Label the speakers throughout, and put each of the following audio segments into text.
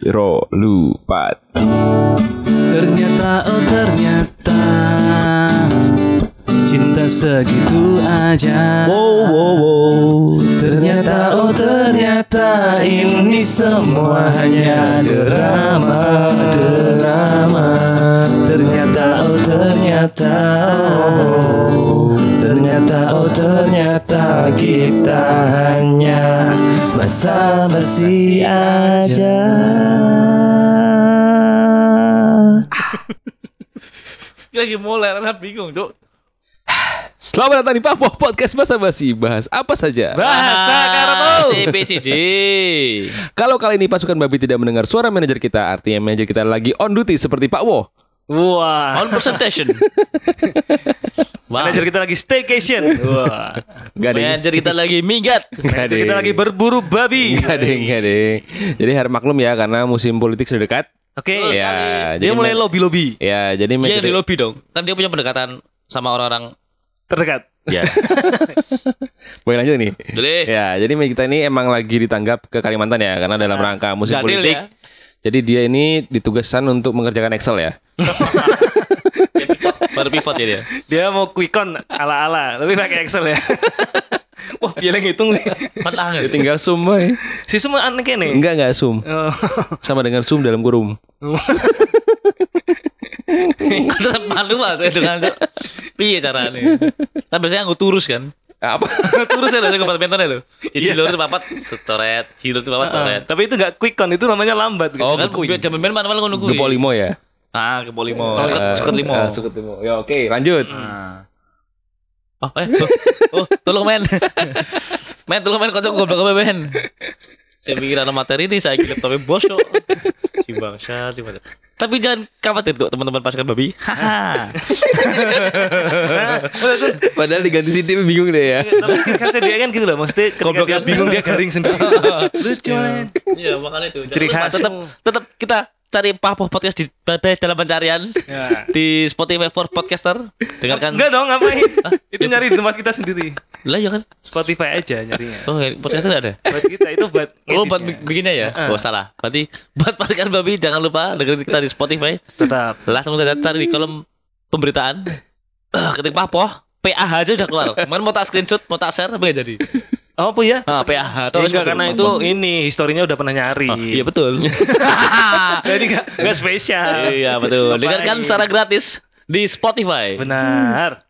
Speaker 1: Jiro lupa.
Speaker 2: Ternyata oh ternyata Cinta segitu aja
Speaker 3: Wow, wow, wow.
Speaker 2: Ternyata oh ternyata Ini semua hanya drama Drama Ternyata oh ternyata oh, Ternyata oh ternyata Kita hanya Basa-basi aja
Speaker 3: Dia lagi mulai, Rana bingung, Dok.
Speaker 1: Selamat datang di Papo Podcast Bahasa Basi. Bahas apa saja.
Speaker 3: Bahasa Karbo.
Speaker 4: CPCJ.
Speaker 1: Kalau kali ini pasukan Babi tidak mendengar suara manajer kita, artinya manajer kita lagi on duty seperti Pak Wo.
Speaker 4: On
Speaker 2: Wah,
Speaker 4: presentation. Wah.
Speaker 2: manajer kita lagi staycation. Wah,
Speaker 1: Gak ada yang-
Speaker 4: Manajer kita lagi minggat.
Speaker 1: Gak ada
Speaker 2: manajer kita
Speaker 1: yang-
Speaker 2: lagi berburu babi.
Speaker 1: Gak ada yang- gak ada yang. Jadi harap maklum ya karena musim politik sudah dekat.
Speaker 2: Oke, Iya.
Speaker 1: Ya, jadi
Speaker 2: dia mulai
Speaker 1: man-
Speaker 2: lobby lobby
Speaker 1: Ya, jadi
Speaker 4: Dia yang
Speaker 1: manajer
Speaker 4: di lobby dong. Kan dia punya pendekatan sama orang-orang.
Speaker 2: terdekat.
Speaker 4: Ya.
Speaker 1: Boleh lanjut nih.
Speaker 4: Boleh.
Speaker 1: Ya, jadi kita ini emang lagi ditanggap ke Kalimantan ya, karena dalam rangka musim
Speaker 4: Nggak deal
Speaker 1: politik.
Speaker 4: ya.
Speaker 1: Jadi dia ini ditugaskan untuk mengerjakan Excel ya.
Speaker 4: Baru pivot ya dia.
Speaker 2: Dia mau quick count ala ala, tapi pakai Excel ya. Wah, dia lagi ngitung nih.
Speaker 4: Empat langan.
Speaker 1: Dia tinggal zoom, boy.
Speaker 2: Si semua anak nih.
Speaker 1: Enggak, enggak zoom.
Speaker 2: Oh,
Speaker 1: Sama dengan zoom dalam kurung.
Speaker 4: Tetap malu mas. Itu kan. Dok. Piye caranya. Kan biasanya aku turus kan.
Speaker 1: Apa?
Speaker 4: turus ya loh. Ke badminton ya loh. Ya
Speaker 1: Iya.
Speaker 4: jilur itu papat. Coret. Jilur itu papat coret.
Speaker 2: tapi itu nggak quick count, itu namanya lambat.
Speaker 1: Ah. Oh,
Speaker 4: Kan jam main manual ngono kuwi.
Speaker 1: Gepolimo ya.
Speaker 4: Ah, ke polimo. Suket
Speaker 1: Eh,
Speaker 4: suket limo.
Speaker 1: eh, suket limo. Ya, oke, lanjut.
Speaker 4: Oh, eh, oh, oh, tolong men. men, tolong men, kocok goblok apa men? Saya pikir ada materi ini, saya kira tapi bos kok. Si bangsa, si bangsa. Tapi jangan khawatir tuh teman-teman pasukan babi. Haha.
Speaker 2: Ah. Nah,
Speaker 1: Padahal diganti Siti bingung deh ya.
Speaker 2: Kasih dia kan gitu loh, maksudnya ketika
Speaker 4: Goblok
Speaker 2: dia
Speaker 4: kan?
Speaker 2: bingung dia garing sendiri. Lucu men.
Speaker 4: Iya, makanya itu. Jangan
Speaker 2: Ciri
Speaker 4: lupa,
Speaker 2: khas.
Speaker 4: Tetap, tetap kita cari Papoh Podcast di Babes dalam pencarian
Speaker 2: Ya.
Speaker 4: di Spotify for Podcaster. Dengarkan.
Speaker 2: Enggak dong, ngapain? itu nyari di tempat kita sendiri.
Speaker 4: Lah ya kan.
Speaker 2: Spotify aja nyarinya.
Speaker 4: Oh, podcaster nggak ada.
Speaker 2: Buat kita itu buat
Speaker 4: Oh, buat
Speaker 2: ngeditnya.
Speaker 4: bikinnya ya?
Speaker 2: Ah.
Speaker 4: Oh, salah. Berarti buat pasukan babi jangan lupa dengerin kita di Spotify.
Speaker 2: tetap
Speaker 4: langsung saja cari di kolom pemberitaan Eh, ketik papoh PAH aja udah keluar kemarin mau tak screenshot mau tak share tapi gak jadi
Speaker 2: Oh, apa ya?
Speaker 4: ah,
Speaker 2: Oh,
Speaker 4: PAH terus
Speaker 2: enggak, karena itu ini historinya udah pernah nyari.
Speaker 4: iya betul
Speaker 2: Jadi enggak enggak spesial.
Speaker 4: iya betul
Speaker 2: Ngapain?
Speaker 4: dengarkan secara gratis di Spotify
Speaker 2: Benar.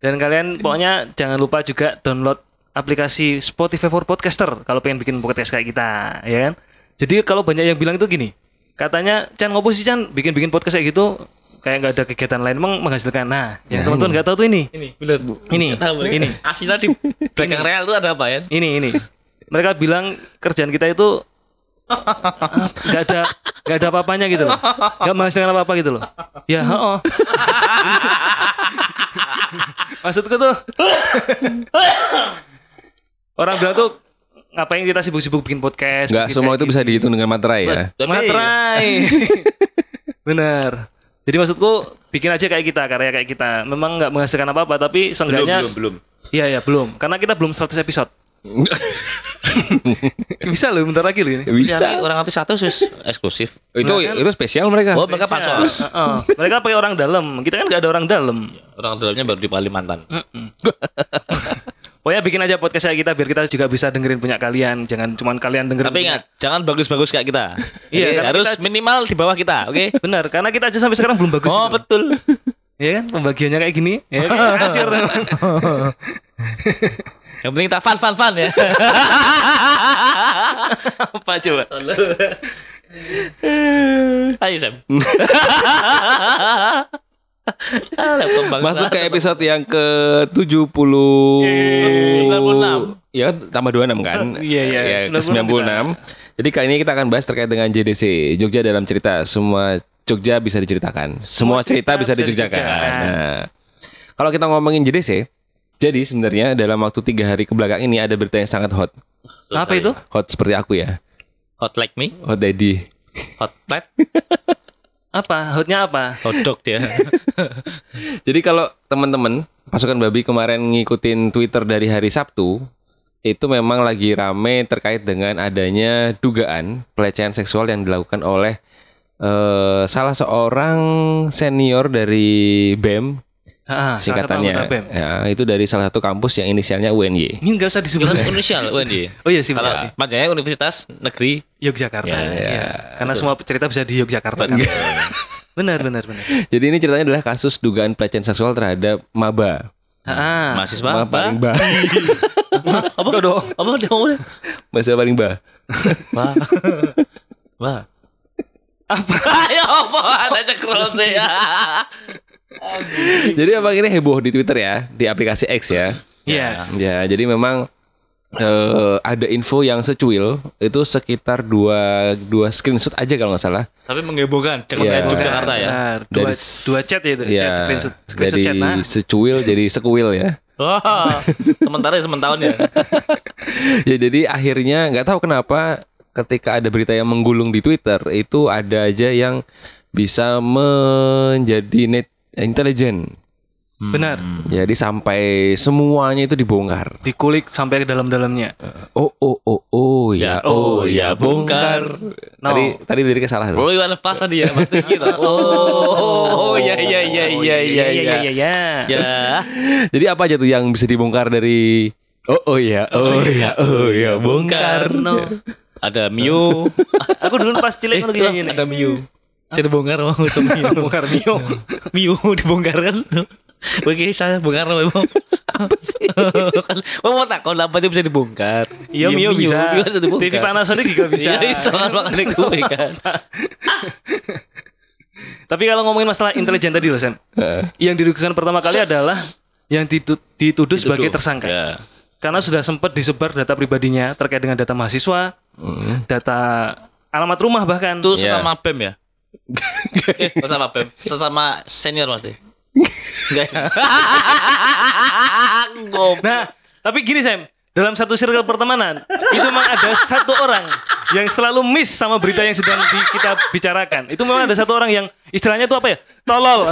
Speaker 2: Dan kalian pokoknya jangan lupa juga download aplikasi Spotify for Podcaster kalau pengen bikin podcast kayak kita, ya kan? Jadi kalau banyak yang bilang itu gini, katanya Chan ngopo sih Chan bikin-bikin podcast kayak gitu kayak nggak ada kegiatan lain emang menghasilkan. Nah, yang
Speaker 4: iya.
Speaker 2: teman-teman nggak tahu tuh ini.
Speaker 4: ini benar
Speaker 2: Ini,
Speaker 4: ya.
Speaker 2: ini,
Speaker 4: aslinya di belakang real tuh ada apa ya
Speaker 2: ini, ini. Mereka bilang kerjaan kita itu nggak ada nggak ada apa-apanya gitu loh nggak menghasilkan apa-apa gitu loh ya oh maksudku tuh orang bilang tuh ngapain kita sibuk-sibuk bikin podcast
Speaker 1: Enggak
Speaker 2: bikin
Speaker 1: semua
Speaker 2: kayak
Speaker 1: itu bisa dihitung dengan materai ya.
Speaker 2: gitu. materai bener jadi maksudku bikin aja kayak kita karya kayak kita memang nggak menghasilkan apa-apa tapi seenggaknya
Speaker 4: belum
Speaker 2: iya ya belum karena kita belum 100 episode bisa loh bentar lagi loh ini
Speaker 4: bisa
Speaker 1: Bisa.
Speaker 4: orang satu satu sus eksklusif
Speaker 1: Itu itu spesial mereka.
Speaker 4: oh mereka pansos
Speaker 2: Heeh. mereka pakai orang dalam kita kan nggak ada orang dalam
Speaker 4: eh, orang dalamnya baru di Kalimantan
Speaker 2: Pokoknya bikin aja podcast kayak kita biar kita juga bisa dengerin punya kalian. Jangan cuman kalian dengerin.
Speaker 4: tapi
Speaker 2: punya-
Speaker 4: ingat jangan bagus-bagus kayak kita
Speaker 2: Iya,
Speaker 4: Jadi
Speaker 2: karena
Speaker 4: harus
Speaker 2: kita-
Speaker 4: minimal di bawah kita oke
Speaker 2: Benar, karena kita aja sampai sekarang belum bagus.
Speaker 4: oh
Speaker 2: gitu.
Speaker 4: betul
Speaker 2: Iya kan? Pembagiannya kayak gini. Ya kan? Hancur.
Speaker 4: Yang penting kita fun fun fun ya.
Speaker 2: Apa coba?
Speaker 4: Ayo Sam. Ah, Laptop bangsa.
Speaker 1: Masuk ke episode yang ke 70
Speaker 4: 96.
Speaker 1: Ya kan tambah 26 kan?
Speaker 2: Iya, iya,
Speaker 1: Ya, ke 96. Jadi kali ini kita akan bahas terkait dengan JDC, Jogja dalam cerita. Semua Jogja bisa diceritakan. Semua cerita bisa dijogjakan. Nah, kalau kita ngomongin JDC, jadi sebenarnya dalam waktu tiga hari kebelakang ini ada berita yang sangat hot.
Speaker 2: Apa itu?
Speaker 1: Hot seperti aku ya.
Speaker 4: Hot like me,
Speaker 1: Hot daddy.
Speaker 4: hot plate,
Speaker 2: Apa? Hotnya apa?
Speaker 4: hot dog dia.
Speaker 1: Jadi kalau teman-teman pasukan babi kemarin ngikutin Twitter dari hari Sabtu, itu memang lagi rame terkait dengan adanya dugaan pelecehan seksual yang dilakukan oleh eh, salah seorang senior dari BEM
Speaker 2: Ah, salah satu
Speaker 1: singkatannya.
Speaker 2: anggota BEM.
Speaker 1: Ya, itu dari salah satu kampus yang inisialnya UNY.
Speaker 2: Ini enggak usah disebut.
Speaker 4: Bukan inisial UNY.
Speaker 2: Oh iya sih,
Speaker 4: Kalau
Speaker 2: benar sih.
Speaker 4: panjangnya Universitas Negeri
Speaker 2: Yogyakarta. iya. Karena semua cerita bisa di Yogyakarta kan. benar, benar, benar.
Speaker 1: Jadi ini ceritanya adalah kasus dugaan pelecehan seksual terhadap maba.
Speaker 2: Ah,
Speaker 4: mahasiswa
Speaker 1: Maba paling
Speaker 4: apa?
Speaker 1: bah.
Speaker 4: Apa dong? Apa dong?
Speaker 1: Bahasa paling bah.
Speaker 4: Wah. Wah. Apa? ya apa? Ada cekrose ya.
Speaker 1: Jadi abang ini heboh di Twitter ya, di aplikasi X ya.
Speaker 2: yes.
Speaker 1: Ya, jadi memang eh, ada info yang secuil itu sekitar dua dua screenshot aja kalau nggak salah
Speaker 4: Tapi menghebohkan
Speaker 1: Iya.
Speaker 4: cekrose Yogyakarta ya.
Speaker 2: Benar. Dua,
Speaker 1: Dari s-
Speaker 2: dua chat ya itu.
Speaker 1: ya,
Speaker 2: Chat, screenshot, screenshot
Speaker 1: dari
Speaker 2: chat. Nah.
Speaker 1: secuil jadi sekuil ya.
Speaker 4: Wah. Sementara ya sementahun ya.
Speaker 1: ya jadi akhirnya nggak tahu kenapa ketika ada berita yang menggulung di Twitter itu ada aja yang bisa menjadi net intelijen.
Speaker 2: Benar.
Speaker 1: Jadi sampai semuanya itu dibongkar.
Speaker 2: Dikulik sampai ke dalam-dalamnya.
Speaker 1: Oh oh oh oh ya, oh ya bongkar.
Speaker 2: No. Oh,
Speaker 1: Tadi tadi dari kesalahan.
Speaker 4: Lo Oh, iwan pas tadi ya, pasti kita. Oh, iya iya iya iya iya iya.
Speaker 2: iya, iya.
Speaker 4: Ya.
Speaker 1: Jadi apa aja tuh yang bisa dibongkar dari Oh oh ya, oh
Speaker 2: iya,
Speaker 1: ya, oh ya, bongkar.
Speaker 4: Karno. Ada Miu.
Speaker 2: Aku dulu pas cilik ngono gini.
Speaker 4: Ada Miu. Saya dibongkar mau itu Miu.
Speaker 2: Bongkar Mio.
Speaker 4: Miu dibongkar kan. Oke, saya bongkar memang. Apa sih? mau takon apa aja bisa dibongkar.
Speaker 2: Iya Mio bisa.
Speaker 4: Mio bisa dibongkar.
Speaker 2: TV Panasonic juga bisa.
Speaker 4: Iya, bisa kan makanya gue kan.
Speaker 2: Tapi kalau ngomongin masalah intelijen tadi loh Sam. Yang dirugikan pertama kali adalah yang ditu- dituduh sebagai tersangka.
Speaker 4: Ya.
Speaker 2: Karena sudah sempat disebar data pribadinya terkait dengan data mahasiswa, data alamat rumah bahkan.
Speaker 4: Itu sesama BEM ya? Eh, sesama BEM. Sesama senior pasti. Enggak. ya? Goblok.
Speaker 2: Nah, tapi gini Sam, dalam satu circle pertemanan itu memang ada satu orang yang selalu miss sama berita yang sedang di- kita bicarakan. Itu memang ada satu orang yang istilahnya itu apa ya? Tolol.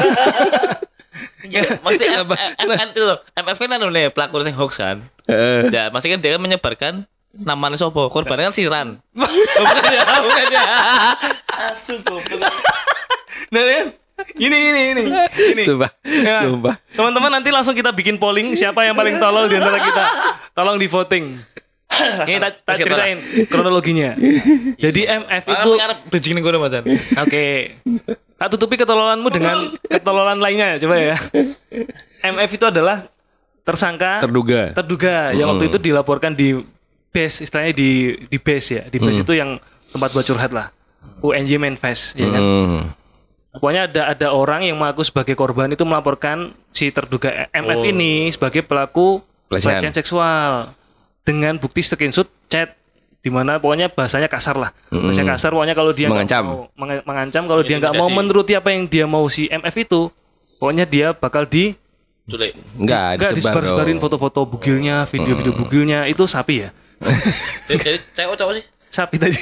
Speaker 4: Mesti MFN itu loh. MFN kan anu nih pelaku sing hoax kan.
Speaker 1: Eh,
Speaker 4: Ya, masih kan dia kan menyebarkan namanya sopo korbannya kan siran oh, bukan ya bukan ya
Speaker 2: Nah, ya. ini ini ini. ini.
Speaker 1: Coba,
Speaker 2: Ya.
Speaker 1: coba.
Speaker 2: Teman-teman nanti langsung kita bikin polling siapa yang paling tolol di antara kita. Tolong di voting. Ini tak tak
Speaker 4: Masih
Speaker 2: ceritain kronologinya. Jadi MF itu
Speaker 4: aku ngarep bridging nih gue macan
Speaker 2: oke. Tak tutupi ketololanmu dengan ketololan lainnya coba ya. MF itu adalah tersangka
Speaker 1: Terduga.
Speaker 2: terduga yang waktu itu dilaporkan di base istilahnya di di base ya. Di
Speaker 1: Mm.
Speaker 2: base itu yang tempat buat curhat lah. UNJ Manfest ya kan.
Speaker 1: Hmm.
Speaker 2: Pokoknya ada ada orang yang mengaku sebagai korban itu melaporkan si terduga MF ini sebagai pelaku
Speaker 1: Oh. Pelecehan.
Speaker 2: pelecehan seksual dengan bukti screenshot chat di mana pokoknya bahasanya kasar lah. Bahasanya kasar pokoknya kalau dia nggak
Speaker 1: Mengancam.
Speaker 2: mau- menge- mengancam kalau dia nggak mau menuruti apa yang dia mau si MF itu, pokoknya dia bakal di
Speaker 4: culik
Speaker 1: Enggak,
Speaker 2: nggak
Speaker 1: disebar,
Speaker 2: disebar-sebarin
Speaker 1: dong.
Speaker 2: foto-foto bugilnya, video-video bugilnya itu sapi ya.
Speaker 4: jadi jadi cewek cowok sih
Speaker 2: Sapi tadi.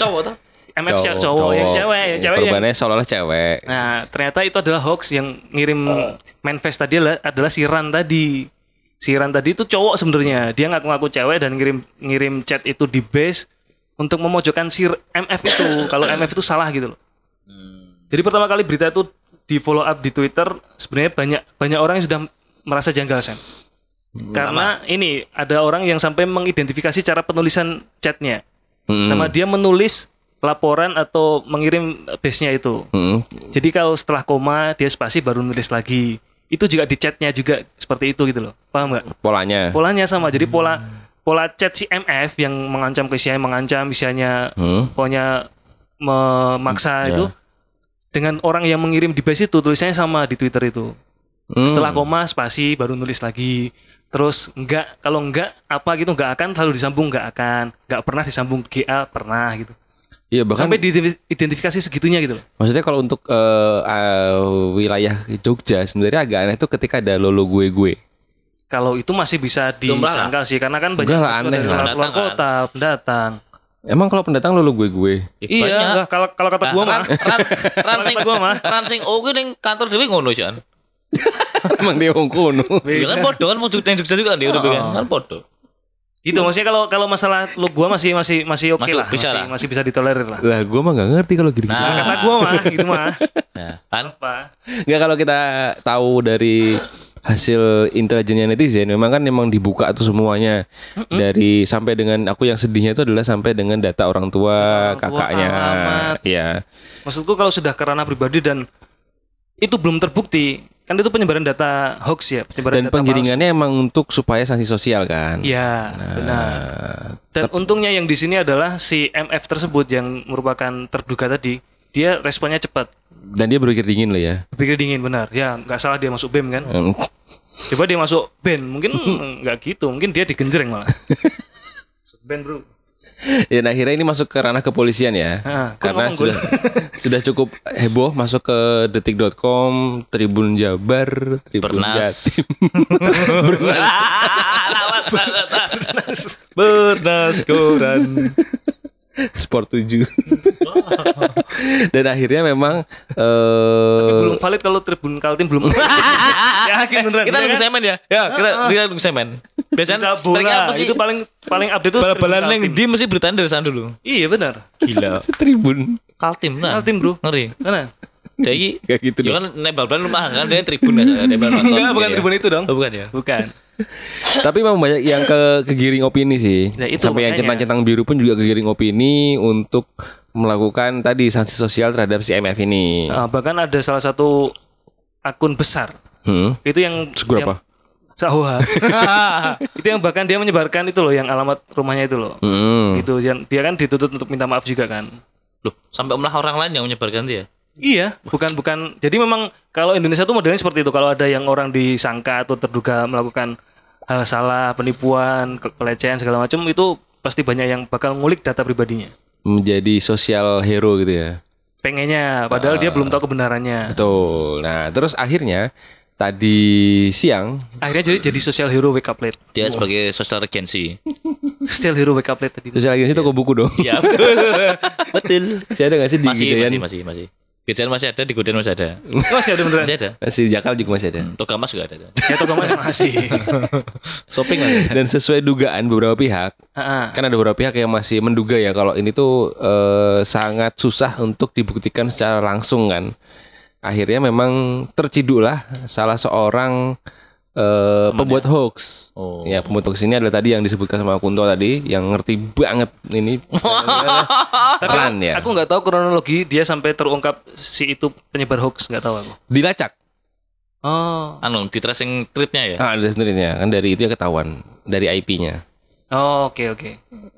Speaker 4: cowok tuh
Speaker 2: MF cowok, ya, cowok, yang cewek, yang cewek ya. yang
Speaker 1: Korbannya seolah-olah cewek.
Speaker 2: Nah, ternyata itu adalah hoax yang ngirim manifest tadi adalah, adalah si Ran tadi. Si Ran tadi itu cowok sebenarnya. Dia ngaku-ngaku cewek dan ngirim ngirim chat itu di base untuk memojokkan si MF itu kalau MF itu salah gitu loh. Jadi pertama kali berita itu di follow up di Twitter sebenarnya banyak banyak orang yang sudah merasa janggal Sam. Karena ini ada orang yang sampai mengidentifikasi cara penulisan chatnya. Sama dia menulis laporan atau mengirim base-nya itu.
Speaker 1: Hmm.
Speaker 2: Jadi kalau setelah koma dia spasi baru nulis lagi. Itu juga di chatnya juga seperti itu gitu loh. Paham nggak?
Speaker 1: Polanya.
Speaker 2: Polanya sama. Jadi pola
Speaker 1: Hmm.
Speaker 2: pola chat si MF yang mengancam ke isiannya mengancam isiannya
Speaker 1: Hmm. ya.
Speaker 2: pokoknya memaksa itu dengan orang yang mengirim di base itu tulisannya sama di Twitter itu.
Speaker 1: Hmm.
Speaker 2: Setelah koma spasi baru nulis lagi. Terus enggak kalau enggak apa gitu enggak akan selalu disambung enggak akan. Enggak pernah disambung GA pernah gitu.
Speaker 1: Iya bahkan
Speaker 2: Sampai diidentifikasi segitunya gitu loh.
Speaker 1: maksudnya kalau untuk eh, eh, wilayah Jogja sebenarnya agak aneh tuh ketika ada lolo gue gue.
Speaker 2: Kalau itu masih bisa
Speaker 4: Lumrah lah.
Speaker 2: disangkal sih karena kan banyak
Speaker 1: Enggak lah,
Speaker 2: musuh
Speaker 1: aneh
Speaker 2: dari
Speaker 1: lah.
Speaker 2: luar- luar
Speaker 4: Pendatang kan. Ya,
Speaker 2: kota, pendatang.
Speaker 1: Emang kalau pendatang lolo gue gue.
Speaker 2: Iya, enggak kalau kalau kata gua mah.
Speaker 4: ran sing
Speaker 2: Kata gua mah.
Speaker 4: ran sing oh gue ning kantor dewe ngono sih Iya kan
Speaker 1: Emang dia wong kono.
Speaker 2: Iya. Ah.
Speaker 4: ya kan bodoh kan mau Jogja Jogja juga kan dia udah kan kan bodoh
Speaker 2: Itu gitu. maksudnya kalau kalau masalah lu gua masih masih masih oke
Speaker 4: Masih
Speaker 2: lah,
Speaker 4: bisa
Speaker 2: masih,
Speaker 4: lah.
Speaker 2: masih bisa ditolerir lah.
Speaker 1: Lah gue mah nggak ngerti kalau gitu.
Speaker 4: Nah.
Speaker 1: Nggak
Speaker 2: Kata gua mah gitu mah.
Speaker 4: Nah, kan
Speaker 2: Apa?
Speaker 1: kalau kita tahu dari hasil intelijennya netizen memang kan memang dibuka tuh semuanya dari sampai dengan aku yang sedihnya itu adalah sampai dengan data orang tua,
Speaker 2: Data orang tua,
Speaker 1: kakaknya
Speaker 2: alamat.
Speaker 1: ya
Speaker 2: Maksudku kalau sudah karena pribadi dan itu belum terbukti, kan itu penyebaran data hoax ya, penyebaran
Speaker 1: dan
Speaker 2: data palsu.
Speaker 1: penggiringannya emang untuk supaya sanksi sosial kan
Speaker 2: Iya, benar.
Speaker 1: Nah,
Speaker 2: Dan untungnya yang di sini adalah si MF tersebut yang merupakan terduga tadi, dia responnya cepat.
Speaker 1: dan dia berpikir dingin loh ya
Speaker 2: Pikir dingin benar. Ya, nggak salah dia masuk BEM kan.
Speaker 1: Hmm.
Speaker 2: Coba dia masuk band, mungkin nggak gitu, mungkin dia digenjreng malah. Masuk band bro.
Speaker 1: ya nah, akhirnya ini masuk ke ranah kepolisian ya
Speaker 2: Ah, kok
Speaker 1: karena
Speaker 2: ngomong gue?
Speaker 1: sudah sudah cukup heboh masuk ke detik.com Tribun Jabar Tribun
Speaker 4: Bernas.
Speaker 1: Jatim
Speaker 4: Bernas koran.
Speaker 1: Sport 7 dan akhirnya memang eh
Speaker 2: belum valid kalau Tribun Kaltim belum. Yakin beneran.
Speaker 4: Kita
Speaker 2: ya
Speaker 4: nunggu
Speaker 2: kan?
Speaker 4: semen ya. Ya, kita kita nunggu semen.
Speaker 2: Berita
Speaker 4: Biasanya trik
Speaker 2: bola
Speaker 4: apa sih?
Speaker 2: itu paling paling update tuh
Speaker 4: Bal-balan
Speaker 2: Tribun
Speaker 4: yang
Speaker 2: Kaltim.
Speaker 4: di mesti beritanya dari sana dulu.
Speaker 2: Iya benar.
Speaker 4: Gila.
Speaker 1: Tribun
Speaker 4: Kaltim nah.
Speaker 2: Kaltim bro.
Speaker 4: Ngeri.
Speaker 2: Mana?
Speaker 4: Jadi
Speaker 1: Kayak gitu dong.
Speaker 4: Ya kan nek bal-balan rumah kan dia tribun aja, dia bal nonton.
Speaker 2: Enggak, bukan Tribun itu dong.
Speaker 4: Oh, bukan ya.
Speaker 2: Iya. Bukan.
Speaker 1: tapi memang banyak yang ke kegiring opini sih
Speaker 4: Ya,
Speaker 2: Nah, itu
Speaker 1: sampai yang
Speaker 2: makanya.
Speaker 1: centang-centang biru pun juga kegiring opini untuk melakukan tadi sanksi sosial terhadap si MF ini
Speaker 2: Ah, bahkan ada salah satu akun besar
Speaker 1: Hmm.
Speaker 2: itu yang
Speaker 1: Seberapa?
Speaker 2: yang- Sahuha. itu yang bahkan dia menyebarkan itu loh yang alamat rumahnya itu loh.
Speaker 1: Hmm.
Speaker 2: Gitu yang dia kan dituntut untuk minta maaf juga kan.
Speaker 4: Loh, sampai omelah orang lain yang menyebarkan dia.
Speaker 2: Iya, bukan bukan. Jadi memang kalau Indonesia tuh modelnya seperti itu. Kalau ada yang orang disangka atau terduga melakukan hal salah, penipuan, ke- pelecehan segala macam itu pasti banyak yang bakal ngulik data pribadinya.
Speaker 1: menjadi sosial hero gitu ya.
Speaker 2: Pengennya, padahal dia belum tahu kebenarannya.
Speaker 1: Betul. Nah, terus akhirnya tadi siang
Speaker 2: Akhirnya jadi jadi social hero wake up late.
Speaker 4: Dia sebagai social agency.
Speaker 2: Social hero wake up late tadi.
Speaker 1: sosial agensi toko buku dong.
Speaker 4: Iya, betul. betul.
Speaker 1: Saya ada nggak sih di
Speaker 4: Masih,
Speaker 1: Gedean?
Speaker 4: masih, masih, masih. Gedean masih ada, di Godean masih ada.
Speaker 2: Masih ada ya, beneran.
Speaker 4: Masih ada.
Speaker 1: Masih Jakal juga masih ada.
Speaker 4: Togamas juga ada.
Speaker 2: Ya toh masih masih.
Speaker 4: Shopping lah.
Speaker 1: Dan sesuai dugaan beberapa pihak,
Speaker 2: Heeh.
Speaker 1: kan ada beberapa pihak yang masih menduga ya kalau ini tuh eh, sangat susah untuk dibuktikan secara langsung kan. Akhirnya memang tercidulah salah seorang eh, pembuat hoax.
Speaker 4: Oh.
Speaker 1: Ya, pembuat hoax ini adalah tadi yang disebutkan sama Kunto tadi yang ngerti banget ini.
Speaker 2: Tapi
Speaker 1: Peran ya.
Speaker 2: aku nggak tahu kronologi dia sampai terungkap si itu penyebar hoax nggak tahu aku.
Speaker 1: Dilacak.
Speaker 2: Oh.
Speaker 4: Anu, di tracing tweetnya ya.
Speaker 1: Ah, ada sendirinya kan dari itu ya ketahuan dari IP-nya.
Speaker 2: Oh, oke oke.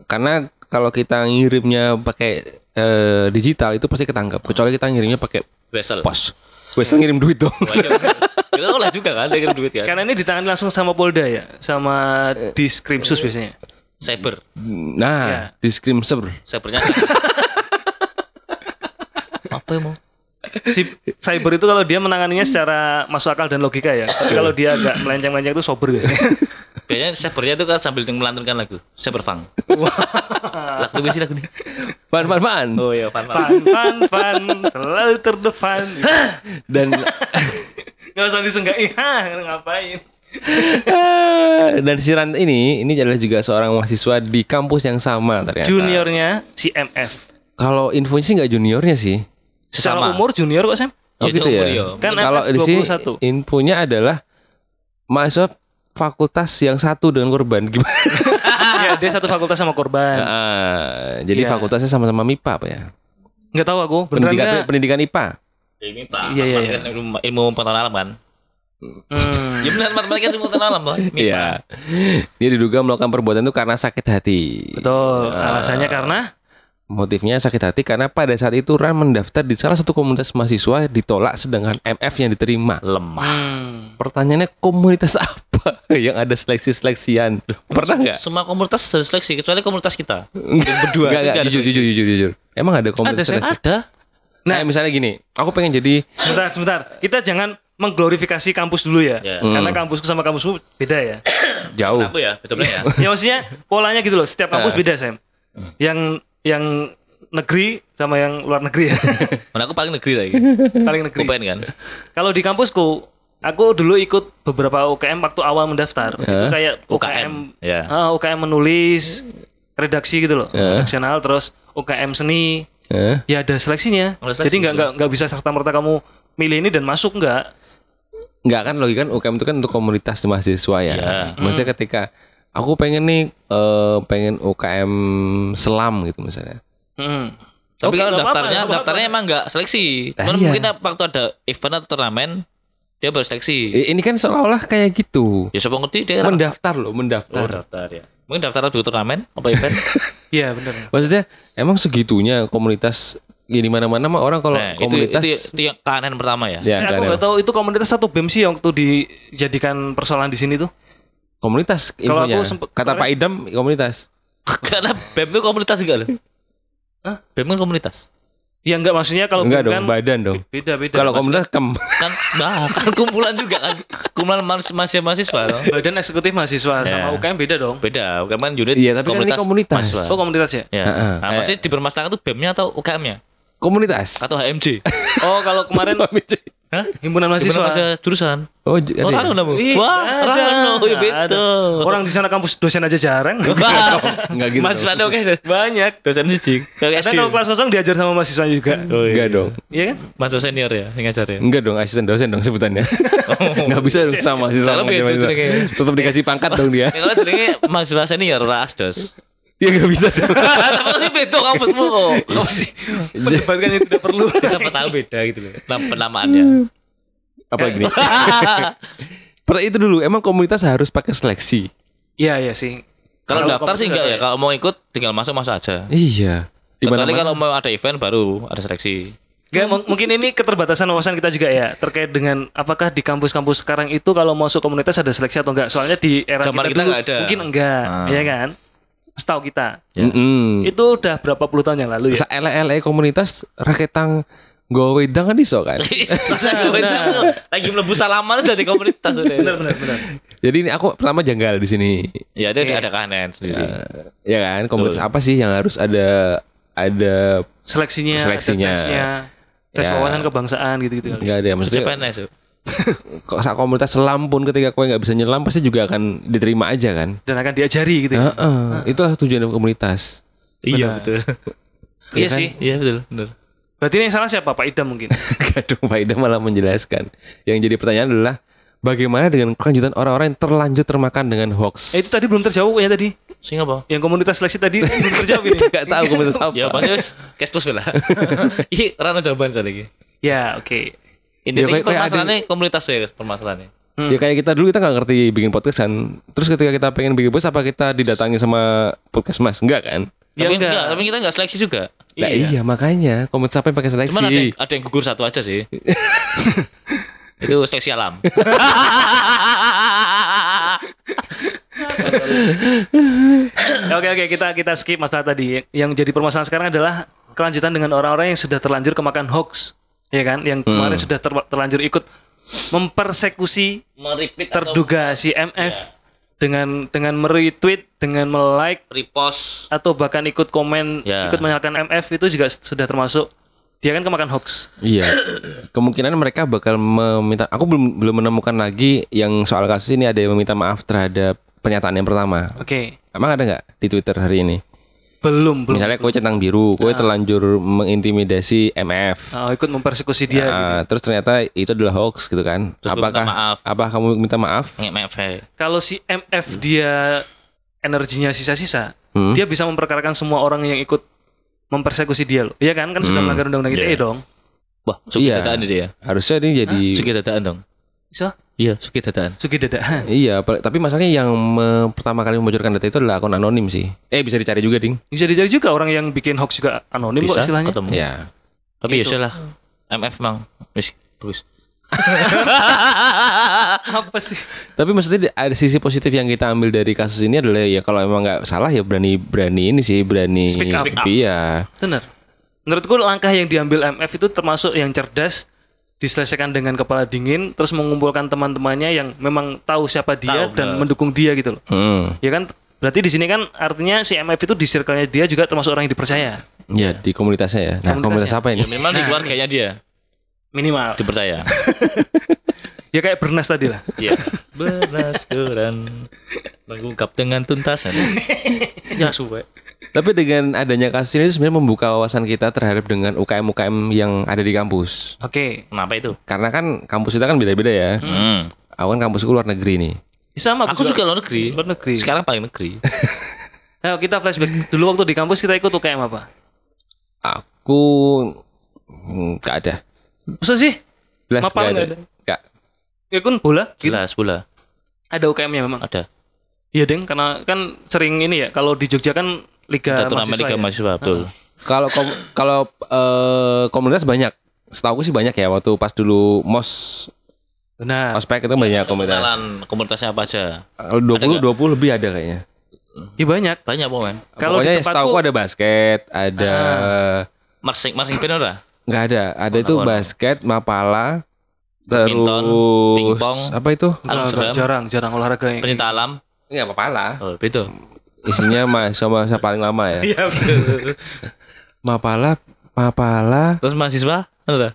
Speaker 1: Karena kalau kita ngirimnya pakai eh, digital itu pasti ketangkap. Kecuali kita ngirimnya pakai
Speaker 4: Wesel.
Speaker 1: pos. Wes ngirim duit dong.
Speaker 4: Kita olah juga kan, dia kirim duit kan.
Speaker 2: Karena ini ditangani langsung sama Polda ya, sama Diskrimsus biasanya.
Speaker 4: Cyber.
Speaker 1: Nah,
Speaker 4: Iya.
Speaker 1: di scream ser.
Speaker 4: Cybernya. kan- Apa emang?
Speaker 2: Si cyber itu kalau dia menanganinya secara masuk akal dan logika ya. Tapi kalau dia agak melenceng-melenceng itu sober biasanya.
Speaker 4: Biasanya cybernya itu kan sambil melantunkan lagu. Cyber funk. lagu apa sih lagu ini?
Speaker 1: Pan pan pan.
Speaker 4: Oh iya, fun fun.
Speaker 2: Fun, fun, fun, selalu terdepan.
Speaker 1: Dan
Speaker 2: Gak usah disenggai, hah ngapain?
Speaker 1: eh, dan si Rant ini ini adalah juga seorang mahasiswa di kampus yang sama ternyata.
Speaker 2: Juniornya si MF.
Speaker 1: Kalau infonya sih nggak juniornya sih.
Speaker 2: Secara
Speaker 4: Sama.
Speaker 2: umur junior kok Sam?
Speaker 1: Oh
Speaker 4: Ya, itu
Speaker 1: gitu ya.
Speaker 4: umur dia.
Speaker 2: Kan
Speaker 1: kalau
Speaker 2: FF
Speaker 1: di sini
Speaker 2: 21.
Speaker 1: infonya adalah mahasiswa fakultas yang satu dengan korban gimana?
Speaker 2: ya, dia satu fakultas sama
Speaker 4: Iya.
Speaker 2: korban.
Speaker 1: Ah, jadi
Speaker 2: Iya.
Speaker 1: fakultasnya sama-sama MIPA apa ya?
Speaker 2: Nggak tahu aku, beneran
Speaker 1: Pendidikan
Speaker 2: nggak?
Speaker 1: pendidikan IPA.
Speaker 4: Ya, Ini Pak.
Speaker 2: Iya, iya,
Speaker 4: Matematika
Speaker 2: iya.
Speaker 4: Ilmu, ilmu pengetahuan alam kan.
Speaker 2: Hmm.
Speaker 4: Ya benar matematika ilmu pengetahuan alam, Pak. Ini,
Speaker 1: Iya.
Speaker 4: Pak.
Speaker 1: Dia diduga melakukan perbuatan itu karena sakit hati.
Speaker 2: Betul. Alasannya karena
Speaker 1: Motifnya sakit hati karena pada saat itu Ran mendaftar di salah satu komunitas mahasiswa ditolak sedangkan MF yang diterima.
Speaker 4: Lemah.
Speaker 2: hmm,
Speaker 1: Pertanyaannya komunitas apa yang ada seleksi-seleksian? Pernah nggak?
Speaker 4: Semua komunitas harus seleksi kecuali komunitas kita.
Speaker 1: Berdua. Enggak,
Speaker 4: Nggak ada
Speaker 1: jujur, jujur, jujur, jujur. Emang ada komunitas
Speaker 2: Ada, Sep.
Speaker 1: seleksi?
Speaker 4: Ada.
Speaker 1: Nah, misalnya gini, aku pengen jadi
Speaker 2: sebentar, sebentar. Kita jangan mengglorifikasi kampus dulu ya.
Speaker 4: Ya.
Speaker 2: Karena kampusku sama kampusmu beda ya.
Speaker 1: jauh.
Speaker 4: Aku ya, betul ya.
Speaker 1: Iya.
Speaker 2: ya maksudnya polanya gitu loh. Setiap
Speaker 4: Ah.
Speaker 2: kampus beda, Sam. Yang yang negeri sama yang luar negeri ya.
Speaker 4: Mana aku paling negeri lagi.
Speaker 2: Paling negeri.
Speaker 4: Kupen kan.
Speaker 2: Kalau di kampusku Aku dulu ikut beberapa UKM waktu awal mendaftar.
Speaker 4: Ya.
Speaker 2: Itu
Speaker 1: Hah?
Speaker 2: kayak
Speaker 4: UKM,
Speaker 2: UKM
Speaker 4: ya.
Speaker 2: ah, UKM menulis, redaksi gitu loh,
Speaker 1: Hah?
Speaker 2: redaksional terus UKM seni.
Speaker 1: Hah?
Speaker 2: Ya ada seleksinya.
Speaker 4: Ada seleksi
Speaker 2: Jadi nggak
Speaker 4: gitu.
Speaker 2: nggak nggak bisa serta merta kamu milih ini dan masuk nggak.
Speaker 1: Enggak kan logika kan UKM itu kan untuk komunitas mahasiswa
Speaker 2: Iya.
Speaker 1: ya. Maksudnya
Speaker 2: Hmm.
Speaker 1: ketika aku pengen nih eh, pengen UKM selam gitu misalnya.
Speaker 4: Hmm.
Speaker 2: Mm.
Speaker 4: Tapi
Speaker 2: Oke,
Speaker 4: kalau
Speaker 2: nggak apa-apa,
Speaker 4: daftarnya
Speaker 2: nggak apa-apa.
Speaker 4: daftarnya emang nggak seleksi.
Speaker 1: Ah,
Speaker 4: Cuman
Speaker 1: iya.
Speaker 4: mungkin waktu ada event atau turnamen dia baru seleksi.
Speaker 1: I- Ini kan seolah-olah kayak gitu.
Speaker 4: Ya siapa ngerti dia
Speaker 1: Mendaftar loh,
Speaker 4: Oh,
Speaker 1: mendaftar.
Speaker 4: daftar ya. Mungkin daftar dulu turnamen apa event.
Speaker 2: Iya benar.
Speaker 1: Maksudnya emang segitunya komunitas ya di mana-mana mah orang kalau
Speaker 4: nah, itu, itu,
Speaker 1: komunitas
Speaker 4: itu yang keanehan pertama
Speaker 1: ya,
Speaker 4: ya.
Speaker 2: ya-
Speaker 1: kan,
Speaker 2: Saya aku nggak tahu itu komunitas satu BEM sih yang waktu dijadikan persoalan di sini tuh.
Speaker 1: komunitas
Speaker 2: Kalau
Speaker 1: infonya.
Speaker 2: aku sempet-
Speaker 1: Kata Pak
Speaker 2: kemarin-
Speaker 1: Idam komunitas.
Speaker 4: Karena BEM itu komunitas juga loh.
Speaker 2: Hah?
Speaker 4: BEM kan komunitas.
Speaker 2: Ya nggak maksudnya kalau
Speaker 1: Enggak
Speaker 2: BEM
Speaker 1: dong,
Speaker 2: kan
Speaker 1: badan dong.
Speaker 2: beda beda.
Speaker 1: Kalau komunitas kem
Speaker 4: Kan nah, kan kumpulan juga kan. Kumpulan mahasiswa mahasiswa. loh.
Speaker 2: badan eksekutif mahasiswa sama
Speaker 4: Ya.
Speaker 2: UKM beda dong.
Speaker 4: Beda, UKM kan unit
Speaker 1: Iya, tapi kan ini komunitas.
Speaker 4: mahasiswa.
Speaker 2: Oh komunitas ya?
Speaker 4: Ya.
Speaker 1: Heeh,
Speaker 4: Nah,
Speaker 1: kayak-
Speaker 4: maksudnya dipermasalahkan tuh BEM-nya atau UKM-nya
Speaker 1: komunitas.
Speaker 4: atau HMJ?
Speaker 2: Oh kalau kemarin
Speaker 4: Hah?
Speaker 2: himpunan
Speaker 4: Gimana
Speaker 2: mahasiswa.
Speaker 4: masa jurusan.
Speaker 1: Oh, j- ada
Speaker 4: Oh,
Speaker 1: ya?
Speaker 4: Rano namanya?
Speaker 2: Ih,
Speaker 4: Wah,
Speaker 2: nggak ada,
Speaker 4: Rano, ya
Speaker 2: nggak ada.
Speaker 4: betul.
Speaker 2: iya, Orang di sana kampus dosen aja jarang.
Speaker 1: Enggak gitu. Oh,
Speaker 4: Mas
Speaker 1: dong.
Speaker 4: Rano kan
Speaker 2: Banyak.
Speaker 4: dosen sisik. Kayak
Speaker 2: Karena
Speaker 4: SD.
Speaker 2: kalau kelas kosong diajar sama mahasiswa juga.
Speaker 1: Enggak dong.
Speaker 2: Iya kan?
Speaker 4: Mas senior ya, yang ngajar ya. Oh.
Speaker 1: Enggak dong, asisten dosen dong sebutannya. Enggak bisa sama sih sama
Speaker 4: Soalnya beda
Speaker 1: mahasiswa.
Speaker 4: jenengnya.
Speaker 1: Tetap dikasih pangkat dong dia.
Speaker 4: Ya, Kalau jenenge mahasiswa senior ras dos.
Speaker 1: Ya enggak bisa dong.
Speaker 4: Tapi sih beda kampusmu kok.
Speaker 1: Iya.
Speaker 4: Kamu sih
Speaker 2: Perdebatannya tidak perlu.
Speaker 4: siapa tahu beda gitu loh. Nama penamaannya.
Speaker 1: Apa gini? Per- itu dulu, emang komunitas harus pakai seleksi.
Speaker 2: Iya iya sih.
Speaker 4: Kalau daftar sih enggak ya,
Speaker 2: komunitas-
Speaker 4: kalau mau ikut tinggal masuk masuk aja.
Speaker 1: Iya. Di
Speaker 4: Kecuali
Speaker 1: mana-mana.
Speaker 4: kalau mau ada event baru ada seleksi.
Speaker 2: Nggak, mung- mungkin ini keterbatasan wawasan kita juga ya terkait dengan apakah di kampus-kampus sekarang itu kalau mau masuk komunitas ada seleksi atau enggak? Soalnya di era
Speaker 4: Zaman kita
Speaker 2: dulu
Speaker 4: nggak ada.
Speaker 2: mungkin enggak,
Speaker 4: Ah.
Speaker 2: ya kan? Setahu kita.
Speaker 1: Ya. Mm-mm.
Speaker 2: Itu udah berapa puluh tahun yang
Speaker 1: Iya.
Speaker 2: lalu ya?
Speaker 1: Sa-ele-ele komunitas raketang gowe dang kan iso kan.
Speaker 4: Lagi mlebu salaman dari komunitas udah.
Speaker 2: Benar benar benar.
Speaker 1: Jadi ini aku pertama janggal di sini.
Speaker 4: Ya dia ada keanehan sendiri.
Speaker 1: Eh, ya kan, komunitas apa sih yang harus ada ada
Speaker 2: Seleksinya, ada
Speaker 1: Seleksinya.
Speaker 2: tesnya, tes
Speaker 1: Ya.
Speaker 2: wawasan kebangsaan gitu-gitu.
Speaker 1: enggak ada ya? maksudnya
Speaker 4: Siapa nih, Su?
Speaker 1: kok saat komunitas selam pun ketika kau nggak bisa nyelam pasti juga akan diterima aja kan
Speaker 2: Dan akan diajari gitu. ya.
Speaker 1: Heeh, itulah tujuan dari komunitas
Speaker 4: Iya betul.
Speaker 2: Iya
Speaker 1: kan?
Speaker 2: sih.
Speaker 4: Iya betul, benar.
Speaker 2: Berarti ini yang salah siapa? Pak Idam mungkin.
Speaker 1: Gadung Faida malah menjelaskan yang jadi pertanyaan adalah bagaimana dengan kelanjutan orang-orang yang terlanjur termakan dengan hoax
Speaker 2: Eh, itu tadi belum terjawab ya tadi.
Speaker 4: Sing apa?
Speaker 2: Yang komunitas seleksi tadi belum terjawab ini.
Speaker 1: nggak tahu komunitas apa
Speaker 4: Ya pasti wis cash plus lah. Iki rano jawaban soal iki.
Speaker 2: Ya, oke.
Speaker 1: Ya,
Speaker 4: Intinya
Speaker 1: kayak- kayak
Speaker 4: permasalahannya komunitas ya permasalahannya.
Speaker 1: ya kayak kita dulu kita nggak ngerti bikin podcast kan terus ketika kita pengen bikin podcast apa kita didatangi sama podcast mas enggak kan
Speaker 2: Ya,
Speaker 4: tapi
Speaker 2: enggak.
Speaker 4: enggak, tapi kita enggak seleksi juga.
Speaker 1: Nah, iya. makanya komunitas apa yang pakai seleksi
Speaker 4: Cuman ada yang, ada yang gugur satu aja sih. itu seleksi alam.
Speaker 2: Oke oke kita kita skip masalah tadi. Yang jadi permasalahan sekarang adalah kelanjutan dengan orang-orang yang sudah terlanjur kemakan hoax, ya kan? Yang kemarin sudah ter- terlanjur ikut mempersekusi
Speaker 4: Meripit
Speaker 2: terduga si MF dengan dengan meretweet, dengan melike
Speaker 4: repost.
Speaker 2: atau bahkan ikut komen,
Speaker 4: Ya.
Speaker 2: ikut menyalahkan MF itu juga s- sudah termasuk dia kan kemakan hoax.
Speaker 1: Iya. Kemungkinan mereka bakal meminta aku belum belum menemukan lagi yang soal kasus ini ada yang meminta maaf terhadap pernyataan yang pertama.
Speaker 2: Oke,
Speaker 1: Emang ada nggak di Twitter hari ini?
Speaker 2: belum belum.
Speaker 1: Misalnya kue centang biru, kue terlanjur mengintimidasi MF.
Speaker 2: Oh, ikut mempersekusi dia. gitu.
Speaker 1: Ah, terus ternyata itu adalah hoax gitu kan.
Speaker 4: Terus lu
Speaker 1: Apakah
Speaker 4: minta maaf.
Speaker 1: apa kamu minta maaf?
Speaker 4: MF.
Speaker 2: Kalau si
Speaker 4: Hmm.
Speaker 2: MF dia energinya sisa-sisa, dia bisa memperkarakan semua orang yang ikut mempersekusi dia loh. Iya kan? Kan
Speaker 4: Hmm.
Speaker 2: sudah melanggar undang-undang ITE
Speaker 4: Iya.
Speaker 2: dong.
Speaker 4: Wah, suki
Speaker 1: Iya.
Speaker 4: dadaan dia.
Speaker 1: Harusnya ini jadi
Speaker 4: Ah, Suki dadaan dong.
Speaker 2: Bisa?
Speaker 4: Iya, suki dadaan.
Speaker 2: Sugi dada.
Speaker 1: Iya, apal- tapi masalahnya yang me- pertama kali membocorkan data itu adalah akun anonim sih. Eh bisa dicari juga, Ding.
Speaker 2: Bisa dicari juga orang yang bikin hoax juga anonim kok istilahnya.
Speaker 4: ketemu.
Speaker 1: Iya.
Speaker 4: Tapi ya sudah lah. MF emang wis bagus.
Speaker 2: Apa sih?
Speaker 1: Tapi maksudnya di- ada sisi positif yang kita ambil dari kasus ini adalah ya kalau emang nggak salah ya berani berani ini sih berani
Speaker 2: Speak up.
Speaker 1: Iya.
Speaker 2: Benar. Menurutku langkah yang diambil MF itu termasuk yang cerdas diselesaikan dengan kepala dingin terus mengumpulkan teman-temannya yang memang tahu siapa dia
Speaker 4: Tahu,
Speaker 2: dan
Speaker 4: benar.
Speaker 2: mendukung dia gitu loh.
Speaker 1: Hmm.
Speaker 2: Ya kan? Berarti di sini kan artinya si MF itu di circle-nya dia juga termasuk orang yang dipercaya
Speaker 1: Ya di komunitasnya
Speaker 4: Iya,
Speaker 1: ya. Nah komunitas
Speaker 2: Komunitasnya.
Speaker 1: apa
Speaker 4: Ya
Speaker 1: ini?
Speaker 4: minimal di keluarganya dia
Speaker 2: minimal.
Speaker 4: dipercaya.
Speaker 2: Ya kayak Bernas tadi lah.
Speaker 4: Iya. Beras keran mengungkap dengan tuntasan. ya suwe.
Speaker 1: Tapi dengan adanya kasus ini sebenarnya membuka wawasan kita terhadap dengan UKM-UKM yang ada di kampus.
Speaker 2: Oke.
Speaker 4: Kenapa itu?
Speaker 1: Karena kan kampus kita kan beda-beda ya.
Speaker 4: Hmm.
Speaker 1: Aku kan kampusku luar negeri nih.
Speaker 2: Sama
Speaker 4: Aku suka luar negeri.
Speaker 2: luar negeri.
Speaker 4: Sekarang paling negeri.
Speaker 2: Ayo kita flashback dulu waktu di kampus kita ikut UKM apa?
Speaker 1: Aku hmm, nggak ada.
Speaker 2: Masa sih?
Speaker 1: Belas nggak
Speaker 2: Mapal
Speaker 1: ada.
Speaker 2: nggak ada?
Speaker 1: Nggak.
Speaker 2: Ya kan bola gitu.
Speaker 4: Jelas bola.
Speaker 2: Ada UKM-nya memang.
Speaker 4: Ada.
Speaker 2: Iya, Deng, karena kan sering ini ya kalau di Jogja kan liga
Speaker 4: Satu nama
Speaker 2: mahasiswa.
Speaker 4: Liga
Speaker 2: ya.
Speaker 4: Mahasiswa betul.
Speaker 1: Kalau kom- kalau eh, komunitas banyak. Setahu sih banyak ya waktu pas dulu mos
Speaker 2: Nah,
Speaker 1: ospek E itu banyak komunitas.
Speaker 4: Kenalan komunitasnya apa aja?
Speaker 1: Kalau 20 20 lebih ada kayaknya.
Speaker 2: ya banyak.
Speaker 4: Banyak momen.
Speaker 2: Kalau di
Speaker 1: Pokoknya setahu aku
Speaker 2: tempatku
Speaker 1: ada basket, ada
Speaker 4: Marching marching band ora?
Speaker 1: nggak ada. Ada itu
Speaker 4: Warna-warni.
Speaker 1: basket, mapala,
Speaker 4: Badminton,
Speaker 1: terus
Speaker 4: pingpong.
Speaker 1: apa itu?
Speaker 4: Alam
Speaker 2: Nggak,
Speaker 4: seram,
Speaker 2: jarang, jarang olahraga yang
Speaker 4: pencinta alam.
Speaker 1: Enggak mapala.
Speaker 4: Oh, beda.
Speaker 1: Isinya mahasiswa mahasiswa paling lama ya. Iya. mapala, mapala,
Speaker 4: Terus mahasiswa? Kan Ada.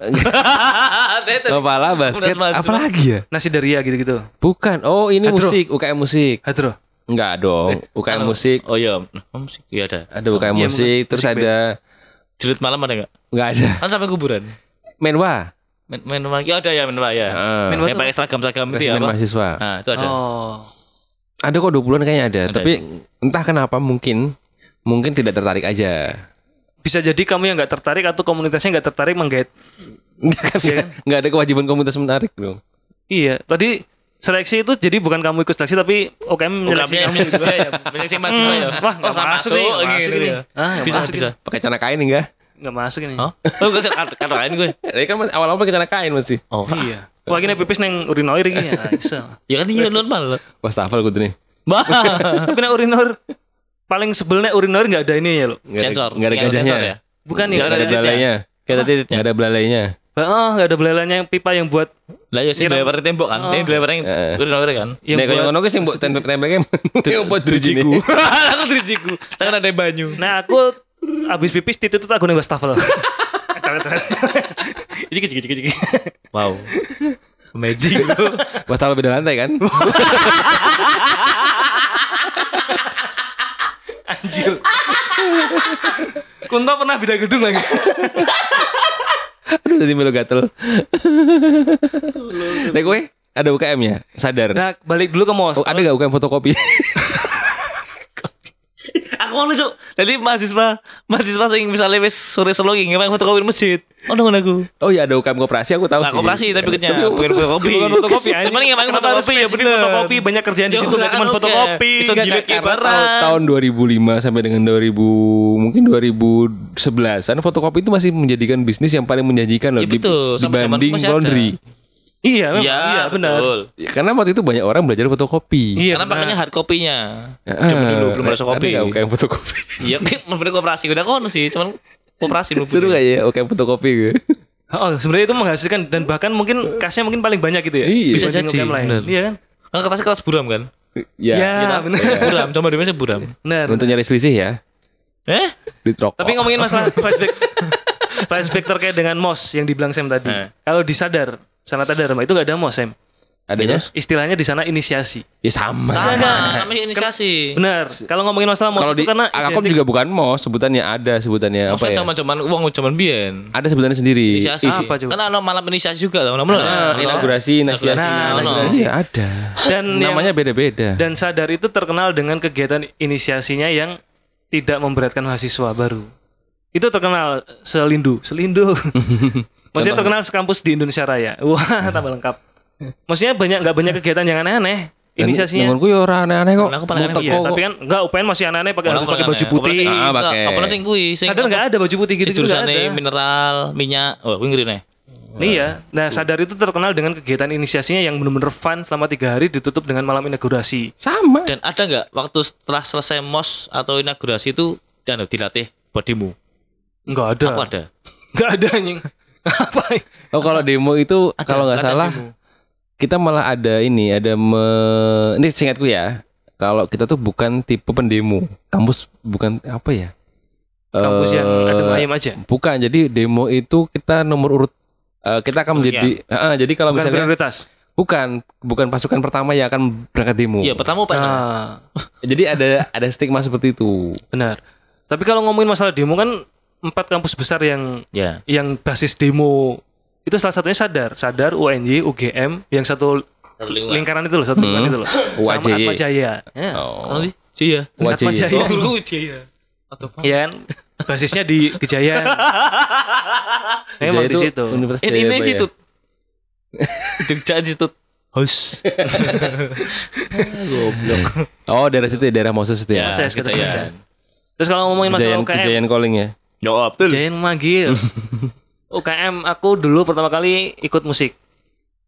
Speaker 1: mapala basket,
Speaker 4: mahasiswa.
Speaker 1: apa lagi ya?
Speaker 2: nasi daria gitu-gitu.
Speaker 1: Bukan. Oh, ini
Speaker 2: Hadro.
Speaker 1: musik, UKM musik.
Speaker 2: Hadro.
Speaker 1: Enggak dong. UKM musik,
Speaker 4: Oh iya, Oh, musik. Iya ada.
Speaker 1: ada UKM
Speaker 2: Iya,
Speaker 1: musik,
Speaker 2: musik-
Speaker 1: terus
Speaker 2: musik
Speaker 1: ada
Speaker 4: Jelit malam ada enggak?
Speaker 1: enggak ada.
Speaker 4: Kan sampai kuburan.
Speaker 1: Menwa.
Speaker 4: Main main rumah. Ya ada ya main rumah ya.
Speaker 1: Heeh.
Speaker 2: Main
Speaker 4: Yang
Speaker 2: waktu-
Speaker 4: pakai seragam-seragam itu ya
Speaker 1: Presiden
Speaker 4: apa?
Speaker 1: mahasiswa.
Speaker 4: Nah, itu ada.
Speaker 2: Oh.
Speaker 1: Ada kok 20-an kayaknya ada,
Speaker 4: Ada.
Speaker 1: tapi entah kenapa mungkin mungkin tidak tertarik aja.
Speaker 2: Bisa jadi kamu yang nggak tertarik atau komunitasnya nggak tertarik menggait.
Speaker 1: Enggak enggak kan? ada kewajiban komunitas menarik dong.
Speaker 2: Iya, tadi seleksi itu jadi bukan kamu ikut seleksi tapi UKM menyeleksi
Speaker 4: Ungkapnya
Speaker 2: kamu.
Speaker 4: yang juga ya, banyak sih mahasiswa ya.
Speaker 2: Hmm. Wah, nggak
Speaker 4: Orang
Speaker 2: masuk nih, nggak masuk
Speaker 4: gitu
Speaker 2: nih.
Speaker 4: ya.
Speaker 2: Ah, nggak
Speaker 4: Bisa
Speaker 2: masuk
Speaker 4: bisa.
Speaker 1: Pakai celana kain enggak?
Speaker 2: Nggak masuk ini.
Speaker 4: Hah? Oh, gue kata-katain gue.
Speaker 1: Ini kan awal-awal pakai celana kain masih.
Speaker 4: Oh,
Speaker 2: Iya. Wah, ini pipis neng urinoir ini ya. iso.
Speaker 4: ya kan iya normal.
Speaker 1: Wastafel gitu nih.
Speaker 4: Bah.
Speaker 2: Tapi neng urinoir paling sebelnya urinoir nggak ada ini ya lo.
Speaker 1: Nggak ada-
Speaker 4: Sensor.
Speaker 1: Nggak ada
Speaker 4: Yang
Speaker 1: gajahnya.
Speaker 4: sensor ya?
Speaker 2: Bukan ya.
Speaker 1: Nggak ada
Speaker 2: nggak ada.
Speaker 1: belalainya.
Speaker 4: Kita titiknya.
Speaker 1: Nggak ada belalainya.
Speaker 2: Oh, nggak ada belalanya yang pipa yang buat
Speaker 4: Lah ya sih
Speaker 2: Nyiram.
Speaker 4: dilempar tembok kan. Ini dilempar yang
Speaker 1: Heeh.
Speaker 4: udah kan.
Speaker 2: yang
Speaker 1: Nek
Speaker 2: buat-
Speaker 1: koyo ngono ki sing mbok tempel-tempelke opo drijiku.
Speaker 4: Aku dirijiku. Tangan ada banyu.
Speaker 2: Nah aku abis pipis titik itu tak gunain wastafel. Jiki jiki jiki jiki.
Speaker 4: Wow. Magic.
Speaker 1: Wastafel beda lantai kan?
Speaker 2: Anjir. Kunto pernah beda gedung lagi.
Speaker 1: Aduh jadi melu gatel. Nek kowe ada UKM-nya? ya? Sadar.
Speaker 2: Nah balik dulu ke mos.
Speaker 1: Oh, ada gak UKM fotokopi?
Speaker 4: Aku mau lucu. Jadi mahasiswa, mahasiswa sing misalnya wis sore selongi ngemang fotokopi di masjid. Ono ngono aku.
Speaker 1: Oh iya ada UKM koperasi aku tahu
Speaker 4: Lah
Speaker 1: sih.
Speaker 4: koperasi tapi kenya bukan
Speaker 1: maksud-
Speaker 4: fotokopi.
Speaker 2: Bukan fotokopi aja.
Speaker 4: Cuman ngemang
Speaker 2: Kenapa harus
Speaker 4: fotokopi ya
Speaker 2: spesifik
Speaker 4: bener.
Speaker 2: Fotokopi iya, banyak kerjaan di
Speaker 4: Ya
Speaker 2: situ nggak
Speaker 4: udah,
Speaker 2: cuma
Speaker 4: oke.
Speaker 2: fotokopi.
Speaker 4: Bisa
Speaker 1: Enggak,
Speaker 4: jilid
Speaker 1: karena
Speaker 4: kayak
Speaker 1: tahun-
Speaker 4: barang.
Speaker 1: tahun 2005 sampai dengan 2000 mungkin 2011an fotokopi itu masih menjadikan bisnis yang paling menjanjikan loh
Speaker 4: Iya, betul. Sampai zaman
Speaker 1: dibanding
Speaker 4: itu masih ada.
Speaker 1: laundry.
Speaker 2: Iya, memang,
Speaker 4: Iya,
Speaker 2: iya benar.
Speaker 4: betul.
Speaker 1: Ya, karena waktu itu banyak orang belajar fotokopi.
Speaker 2: Iya,
Speaker 4: Karena
Speaker 2: benar.
Speaker 4: pakainya hard kopinya.
Speaker 1: Ah,
Speaker 4: Coba dulu belum ada
Speaker 1: ada
Speaker 4: kopi.
Speaker 1: nggak UKM fotokopi.
Speaker 4: Iya, bener koperasi udah kono sih, cuman koperasi lu.
Speaker 1: Seru kayak ya UKM fotokopi gitu.
Speaker 2: Oh, sebenarnya itu menghasilkan dan bahkan mungkin kasnya mungkin paling banyak gitu ya.
Speaker 1: Iya.
Speaker 4: Bisa
Speaker 2: Dibanding
Speaker 4: jadi,
Speaker 2: UKM lain.
Speaker 4: benar.
Speaker 2: Iya kan?
Speaker 4: Kan kertasnya keras buram kan?
Speaker 1: Ya.
Speaker 2: Iya, benar.
Speaker 4: Buram, coba dulu masih buram.
Speaker 2: Benar.
Speaker 1: Untuk nyari selisih ya
Speaker 4: Eh?
Speaker 1: di rokok.
Speaker 2: Tapi ngomongin masalah flashback flashback terkait dengan mos yang dibilang Sam tadi.
Speaker 4: Eh.
Speaker 2: Kalau disadar, sana tadar itu nggak ada mos Sam.
Speaker 1: adanya
Speaker 2: Istilahnya di sana inisiasi.
Speaker 1: ya sama.
Speaker 4: Sama, namanya inisiasi.
Speaker 2: Benar. Kalau ngomongin masalah mos
Speaker 1: Kalau di
Speaker 2: itu karena
Speaker 1: Akakom
Speaker 2: identik-
Speaker 1: juga bukan mos sebutannya ada sebutannya apa
Speaker 4: Maksudnya
Speaker 1: ya?
Speaker 4: zaman-zaman uang zaman biyen.
Speaker 1: Ada sebutannya sendiri.
Speaker 4: Inisiasi.
Speaker 1: Isi-
Speaker 2: Apa coba?
Speaker 4: Karena ono malam inisiasi juga tau, ono
Speaker 1: Ah, inaugurasi, inaugurasi,
Speaker 2: Nah,
Speaker 1: inaugurasi ya ada.
Speaker 2: dan yang-
Speaker 1: Namanya beda-beda.
Speaker 2: Iya. dan sadar itu terkenal dengan kegiatan inisiasinya yang tidak memberatkan mahasiswa baru. Itu terkenal selindu, selindu. Maksudnya terkenal sekampus di Indonesia Raya. Wah, tambah lengkap. Maksudnya banyak nggak banyak kegiatan yang aneh-aneh inisiasinya. Iya,
Speaker 1: Nunggu ya orang aneh-aneh kok.
Speaker 4: Aku paling aneh,
Speaker 1: Butek
Speaker 4: iya,
Speaker 1: kok.
Speaker 2: Tapi kan enggak UPN masih aneh-aneh pakai harus pakai baju putih.
Speaker 1: sih? Ah, pakai.
Speaker 4: kan ya. Apa sing kuwi sing
Speaker 2: Sadar nggak ada baju putih gitu
Speaker 4: Si
Speaker 2: juga ada.
Speaker 4: jurusannya mineral, minyak. Oh, kuwi ngrene.
Speaker 2: Iya. Nah, sadar itu terkenal dengan kegiatan inisiasinya yang benar-benar fun selama tiga hari ditutup dengan malam inaugurasi.
Speaker 1: sama.
Speaker 4: Dan ada nggak waktu setelah selesai mos atau inaugurasi itu dan ya, dilatih buat demo?
Speaker 2: Enggak ada.
Speaker 4: Aku ada.
Speaker 2: Enggak ada anjing. Apa?
Speaker 1: Oh kalau demo itu kalau nggak
Speaker 4: ada
Speaker 1: salah
Speaker 4: demo.
Speaker 1: kita malah ada ini ada me... ini singkatku ya. Kalau kita tuh bukan tipe pendemo. Kampus bukan apa ya?
Speaker 2: Kampus yang ada
Speaker 1: Eh,
Speaker 2: ayam aja.
Speaker 1: Bukan. Jadi demo itu kita nomor urut eh, kita akan menjadi eh, eh, jadi kalau
Speaker 2: ya? Bukan
Speaker 1: misalnya
Speaker 2: prioritas.
Speaker 1: Bukan, bukan pasukan pertama yang akan berangkat demo.
Speaker 4: Iya, pertama Pak.
Speaker 2: Nah,
Speaker 1: Jadi ada ada stigma seperti itu.
Speaker 2: benar. Tapi kalau ngomongin masalah demo kan empat kampus besar yang
Speaker 4: Ya.
Speaker 2: yang basis demo itu salah satunya sadar, sadar UNY, UGM, yang satu
Speaker 4: Satu lingkungan.
Speaker 2: lingkaran itu loh, satu lingkaran itu loh. Sama
Speaker 1: UAJY.
Speaker 2: Atma Jaya. Ya.
Speaker 4: Oh,
Speaker 1: Oh.
Speaker 4: sih? Cia.
Speaker 2: Atma
Speaker 1: Wajah
Speaker 2: Jaya.
Speaker 4: Oh, Cia. Atau apa?
Speaker 2: Iya kan? Basisnya di Kejayaan. Emang di situ.
Speaker 1: Universitas ya?
Speaker 4: Ini
Speaker 1: Jayabaya.
Speaker 4: Institut. Jogja Institut. Hus.
Speaker 1: Oh, daerah situ ya, daerah Moses itu ya.
Speaker 2: Moses, kata
Speaker 4: Kejayaan.
Speaker 2: Terus kalau ngomongin masalah
Speaker 1: Kejayaan,
Speaker 2: UKM,
Speaker 1: kejayaan calling ya.
Speaker 4: Ya, betul.
Speaker 2: Kejayaan manggil. UKM aku dulu pertama kali ikut musik.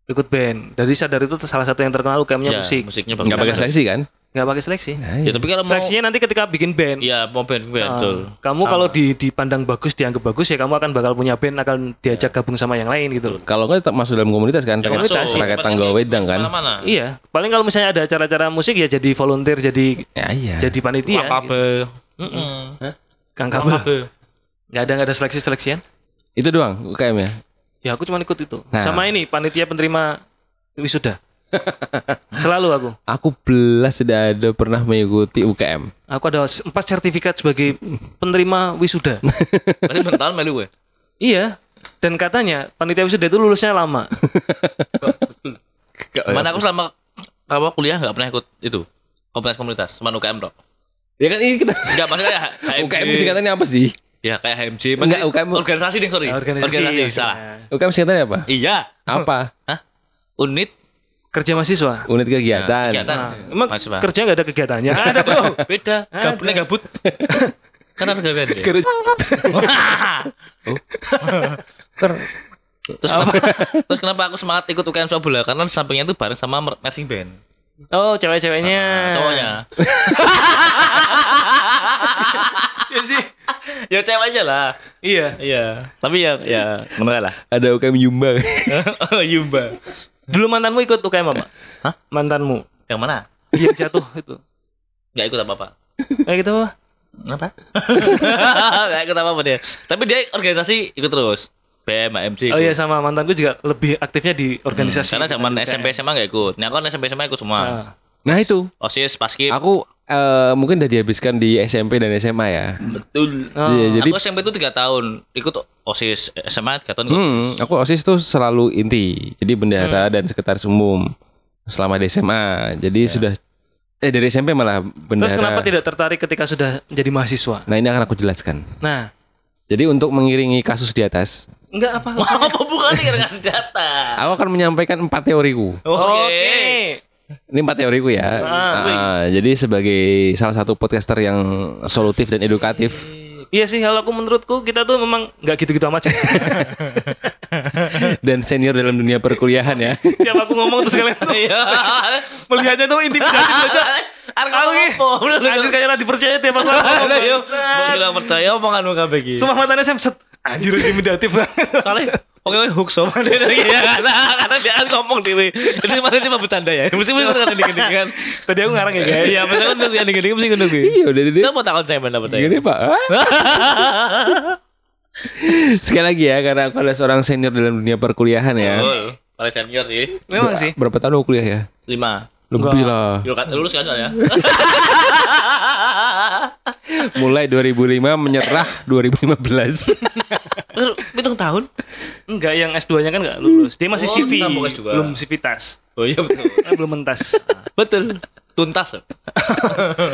Speaker 2: Ikut band. Dari sadar itu salah satu yang terkenal UKM-nya musik.
Speaker 4: Iya, musiknya bagus.
Speaker 1: Enggak Ya, pakai seleksi kan?
Speaker 2: Nggak pakai seleksi.
Speaker 4: Ya, tapi kalau mau
Speaker 2: Seleksinya nanti ketika bikin band.
Speaker 4: Iya, mau band
Speaker 1: Ah.
Speaker 4: band,
Speaker 2: Nah,
Speaker 4: betul.
Speaker 2: Kamu kalau di dipandang bagus, dianggap bagus ya kamu akan bakal punya band, akan diajak gabung sama yang lain gitu loh.
Speaker 1: Iya. Kalau enggak tetap masuk dalam komunitas kan, pakai
Speaker 4: Iya, masuk.
Speaker 1: pakai
Speaker 4: Cepatnya
Speaker 1: tanggal
Speaker 4: di-
Speaker 1: wedang kan.
Speaker 4: Mana-mana.
Speaker 2: Iya, paling kalau misalnya ada acara-acara musik ya jadi volunteer, jadi
Speaker 1: Ya iya.
Speaker 2: jadi panitia.
Speaker 4: Apa
Speaker 2: gitu.
Speaker 4: apa?
Speaker 2: Kang
Speaker 4: Apa
Speaker 2: Kabel. Nggak ada nggak ada seleksi seleksian.
Speaker 1: Itu doang UKM ya.
Speaker 2: Ya aku cuma ikut itu.
Speaker 1: Nah.
Speaker 2: Sama ini panitia penerima wisuda. Selalu aku.
Speaker 1: Aku belas tidak ada pernah mengikuti UKM.
Speaker 2: Aku ada s- empat sertifikat sebagai penerima wisuda.
Speaker 4: Berarti bentar melu ya?
Speaker 1: Oh,
Speaker 4: gue.
Speaker 2: iya. Dan katanya panitia wisuda itu lulusnya lama.
Speaker 1: iya.
Speaker 4: Mana aku selama apa kuliah nggak pernah ikut itu komunitas komunitas cuma UKM dong
Speaker 1: Ya kan ini kita
Speaker 4: nggak maksudnya ya
Speaker 1: UKM singkatannya apa sih?
Speaker 4: ya kayak HMJ
Speaker 1: Enggak, UKM.
Speaker 4: organisasi iya. deh sorry
Speaker 2: Organisasi, maksudnya.
Speaker 4: salah
Speaker 1: UKM singkatannya apa?
Speaker 4: iya
Speaker 1: Apa?
Speaker 4: Hah? unit
Speaker 2: Kerja mahasiswa.
Speaker 1: Unit kegiatan.
Speaker 4: kegiatan
Speaker 2: Nah,
Speaker 1: Ah.
Speaker 2: emang
Speaker 4: Mahasiswa.
Speaker 2: kerja nggak ada kegiatannya? ada bro.
Speaker 4: beda gabutnya gabut kan ada gabut ya
Speaker 2: Kerja-
Speaker 4: terus kenapa, terus kenapa aku semangat ikut UKM sepak bola karena di sampingnya itu bareng sama mer- marching band
Speaker 2: Oh cewek-ceweknya.
Speaker 4: Nah, Ah, cowoknya
Speaker 2: Iya sih.
Speaker 4: ya cewek aja lah
Speaker 2: Iya.
Speaker 4: iya tapi ya ya menurut lah
Speaker 1: Ada UKM Yumba.
Speaker 4: Yumba
Speaker 2: Dulu mantanmu ikut UKM apa? Hah? Mantanmu.
Speaker 4: yang mana
Speaker 2: Iya jatuh itu.
Speaker 4: nggak ikut apa apa
Speaker 2: Kayak gitu apa?
Speaker 4: Kenapa? Gak ikut apa-apa dia. Tapi dia organisasi ikut terus. BM, AMC.
Speaker 2: Oh iya
Speaker 4: ikut.
Speaker 2: sama mantanku juga lebih aktifnya di organisasi.
Speaker 4: Hmm, Karena zaman SMP SMA gak ikut. Nah, kan SMP SMA ikut semua.
Speaker 2: Nah,
Speaker 1: Nah itu.
Speaker 4: OSIS, paskib.
Speaker 1: Aku eh, mungkin udah dihabiskan di SMP dan SMA ya.
Speaker 4: betul.
Speaker 1: Iya, jadi
Speaker 4: Aku SMP itu 3 tahun ikut OSIS, SMA 3 tahun ikut.
Speaker 1: Hmm, aku OSIS tuh selalu inti. Jadi
Speaker 2: Hmm.
Speaker 1: bendahara dan sekretaris umum selama di SMA. Jadi sudah eh dari SMP malah bendahara.
Speaker 2: Ya. Terus kenapa tidak tertarik ketika sudah menjadi mahasiswa?
Speaker 1: Nah, ini akan aku jelaskan.
Speaker 2: Nah,
Speaker 1: Jadi untuk mengiringi kasus di atas,
Speaker 2: enggak apa
Speaker 4: Apa bukan nih karena ngasih data?
Speaker 1: aku akan menyampaikan empat teoriku.
Speaker 2: Oh.
Speaker 1: Ini empat teoriku ya. Ah, jadi sebagai salah satu podcaster yang solutif dan edukatif,
Speaker 2: Iya sih kalau aku menurutku kita tuh memang nggak gitu-gitu amat sih.
Speaker 1: dan senior dalam dunia perkuliahan ya.
Speaker 2: Tiap aku ngomong terus kalian tuh
Speaker 4: Iya.
Speaker 2: melihatnya tuh intimidatif aja. Aku
Speaker 4: Aku ngomong
Speaker 2: nih,
Speaker 4: apa? Udah, udah,
Speaker 2: anjir kayaknya dipercaya tiap aku ngomong.
Speaker 4: udah, yuk. Bagi lo percaya omongan lu kabeh iki.
Speaker 2: Cuma matanya saya set, anjir intimidatif banget.
Speaker 4: Soalnya pokoknya hook sama dia dari ya, karena karena dia kan ngomong dewe. Jadi kemarin cuma bercanda ya. Mesti mesti kan dingin kan.
Speaker 2: Tadi aku ngarang ya guys.
Speaker 4: Iya, mesti kan dingin dingin mesti ngono kuwi.
Speaker 1: Iya, udah deh.
Speaker 4: Saya mau takon saya benar
Speaker 2: ya.
Speaker 4: percaya.
Speaker 1: Gini pak Hah? Sekali lagi ya Karena aku ada seorang senior dalam dunia perkuliahan ya
Speaker 4: Betul. Paling senior sih.
Speaker 2: Memang sih.
Speaker 1: Berapa tahun aku kuliah ya?
Speaker 4: 5.
Speaker 1: Lebih lah
Speaker 4: Yo kan lulus kan soalnya.
Speaker 1: Mulai 2005 menyerah 2015
Speaker 4: Eh, Hitung tahun.
Speaker 2: Enggak yang S2-nya kan enggak lulus. Dia masih
Speaker 4: Oh,
Speaker 2: CV.
Speaker 4: sambung S2.
Speaker 2: Belum civitas.
Speaker 4: Oh iya betul.
Speaker 2: Kan belum mentas.
Speaker 4: Betul. Tuntas. loh.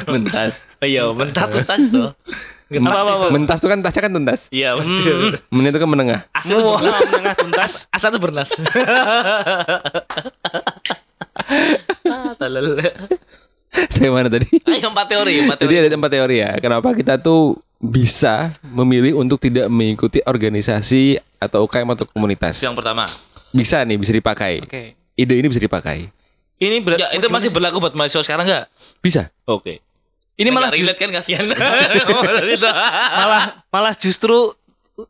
Speaker 1: Mentas
Speaker 4: Oh, Iya, mentas tuntas. loh.
Speaker 1: Mentas,
Speaker 2: Apa, apa, apa?
Speaker 1: mentas tuh kan tasnya kan tuntas
Speaker 4: Iya, betul.
Speaker 1: Menit itu kan menengah
Speaker 4: Asal tuh
Speaker 2: Wow,
Speaker 4: bernas.
Speaker 2: menengah tuntas.
Speaker 4: Asal tuh bernas. Ah, talala.
Speaker 1: Saya mana tadi?
Speaker 4: Ayo Ah, iya, empat teori, empat
Speaker 1: Jadi
Speaker 4: teori.
Speaker 1: ada empat teori ya Kenapa kita tuh bisa memilih untuk tidak mengikuti organisasi atau UKM atau komunitas
Speaker 4: Yang pertama.
Speaker 1: Bisa nih, bisa dipakai
Speaker 2: Oke.
Speaker 1: Ide ini bisa dipakai
Speaker 2: Ini berarti
Speaker 4: Ya, itu masih berlaku buat mahasiswa sekarang enggak?
Speaker 1: Bisa
Speaker 4: Oke.
Speaker 2: ini malah
Speaker 4: Nggak
Speaker 2: justru
Speaker 4: relate kan kasihan. Ngomong gitu.
Speaker 2: malah malah justru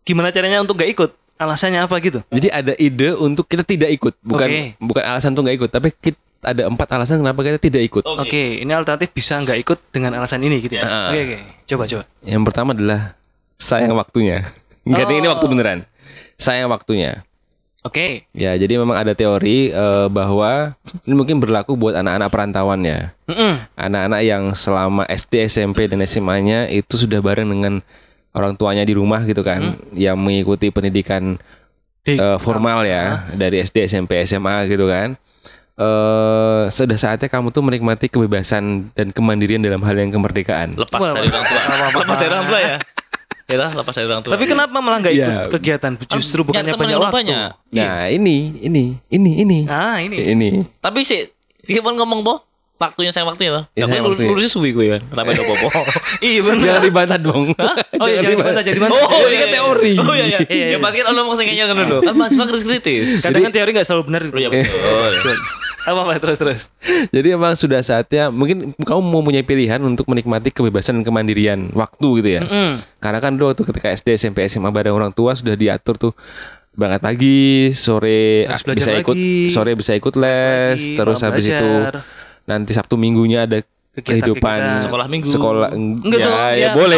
Speaker 2: gimana caranya untuk gak ikut alasannya apa gitu
Speaker 1: Jadi ada ide untuk kita tidak ikut, bukan
Speaker 2: Oke.
Speaker 1: bukan alasan tuh nggak ikut, tapi kita, ada empat alasan kenapa kita tidak ikut.
Speaker 2: oke ini alternatif bisa nggak ikut dengan alasan ini gitu ya oke oke coba coba
Speaker 1: Yang
Speaker 2: Oh.
Speaker 1: pertama adalah sayang waktunya. Enggak ini waktu beneran. Sayang waktunya.
Speaker 2: Oke.
Speaker 1: Ya, jadi memang ada teori eh, bahwa ini mungkin berlaku buat anak-anak perantauan ya.
Speaker 2: Mm-mm.
Speaker 1: Anak-anak yang selama SD, SMP dan SMA-nya itu sudah bareng dengan orang tuanya di rumah gitu kan, yang mengikuti pendidikan
Speaker 2: Hmm. Di-
Speaker 1: eh, formal ya dari SD, SMP, SMA gitu kan. Eh sudah saatnya kamu tuh menikmati kebebasan dan kemandirian dalam hal yang kemerdekaan.
Speaker 4: Lepas
Speaker 2: Wah,
Speaker 4: dari orang tua. lepas dari orang tua ya. Ya lah, lepas dari orang tua.
Speaker 2: Tapi kenapa malah nggak ikut
Speaker 1: Iya.
Speaker 2: kegiatan? Justru
Speaker 4: Nyari
Speaker 2: bukannya
Speaker 4: temen
Speaker 2: banyak
Speaker 4: yang
Speaker 2: waktu.
Speaker 4: banyak.
Speaker 1: Nah, ini ini ini ini.
Speaker 2: iya. Ah, ini.
Speaker 1: Ini.
Speaker 4: Tapi sih, gimana ngomong boh? Waktunya saya waktunya loh.
Speaker 1: Iya,
Speaker 4: Ya,
Speaker 1: sayang
Speaker 4: gue
Speaker 1: waktunya.
Speaker 4: lurusnya suwi gue kan. Kenapa ada bobo?
Speaker 2: Iya benar.
Speaker 1: Jangan dibantah dong.
Speaker 2: Oh iya, jangan dibantah, jadi mana?
Speaker 1: Oh, ini kan teori.
Speaker 4: Oh iya iya.
Speaker 2: Iya,
Speaker 4: Ya
Speaker 2: iya.
Speaker 4: pasti kan Allah mau sengaja kan dulu. Kan mahasiswa kritis-kritis.
Speaker 2: Kadang kan teori nggak selalu benar.
Speaker 4: Oh iya betul.
Speaker 2: Apa apa terus terus.
Speaker 1: Jadi emang sudah saatnya mungkin kamu mau punya pilihan untuk menikmati kebebasan dan kemandirian waktu gitu ya. Karena kan dulu waktu ketika SD, SMP, SMA bareng orang tua sudah diatur tuh berangkat pagi, sore
Speaker 2: Harus
Speaker 1: ah, bisa
Speaker 2: belajar
Speaker 1: ikut
Speaker 2: lagi.
Speaker 1: sore bisa ikut les,
Speaker 2: lagi,
Speaker 1: terus
Speaker 2: malam
Speaker 1: habis itu
Speaker 2: belajar.
Speaker 1: nanti Sabtu minggunya ada kehidupan
Speaker 2: Kegiatan-kegiatan.
Speaker 4: Sekolah minggu.
Speaker 1: Sekolah
Speaker 2: Enggak
Speaker 1: ya,
Speaker 2: dong,
Speaker 1: ya
Speaker 2: ya.
Speaker 1: boleh.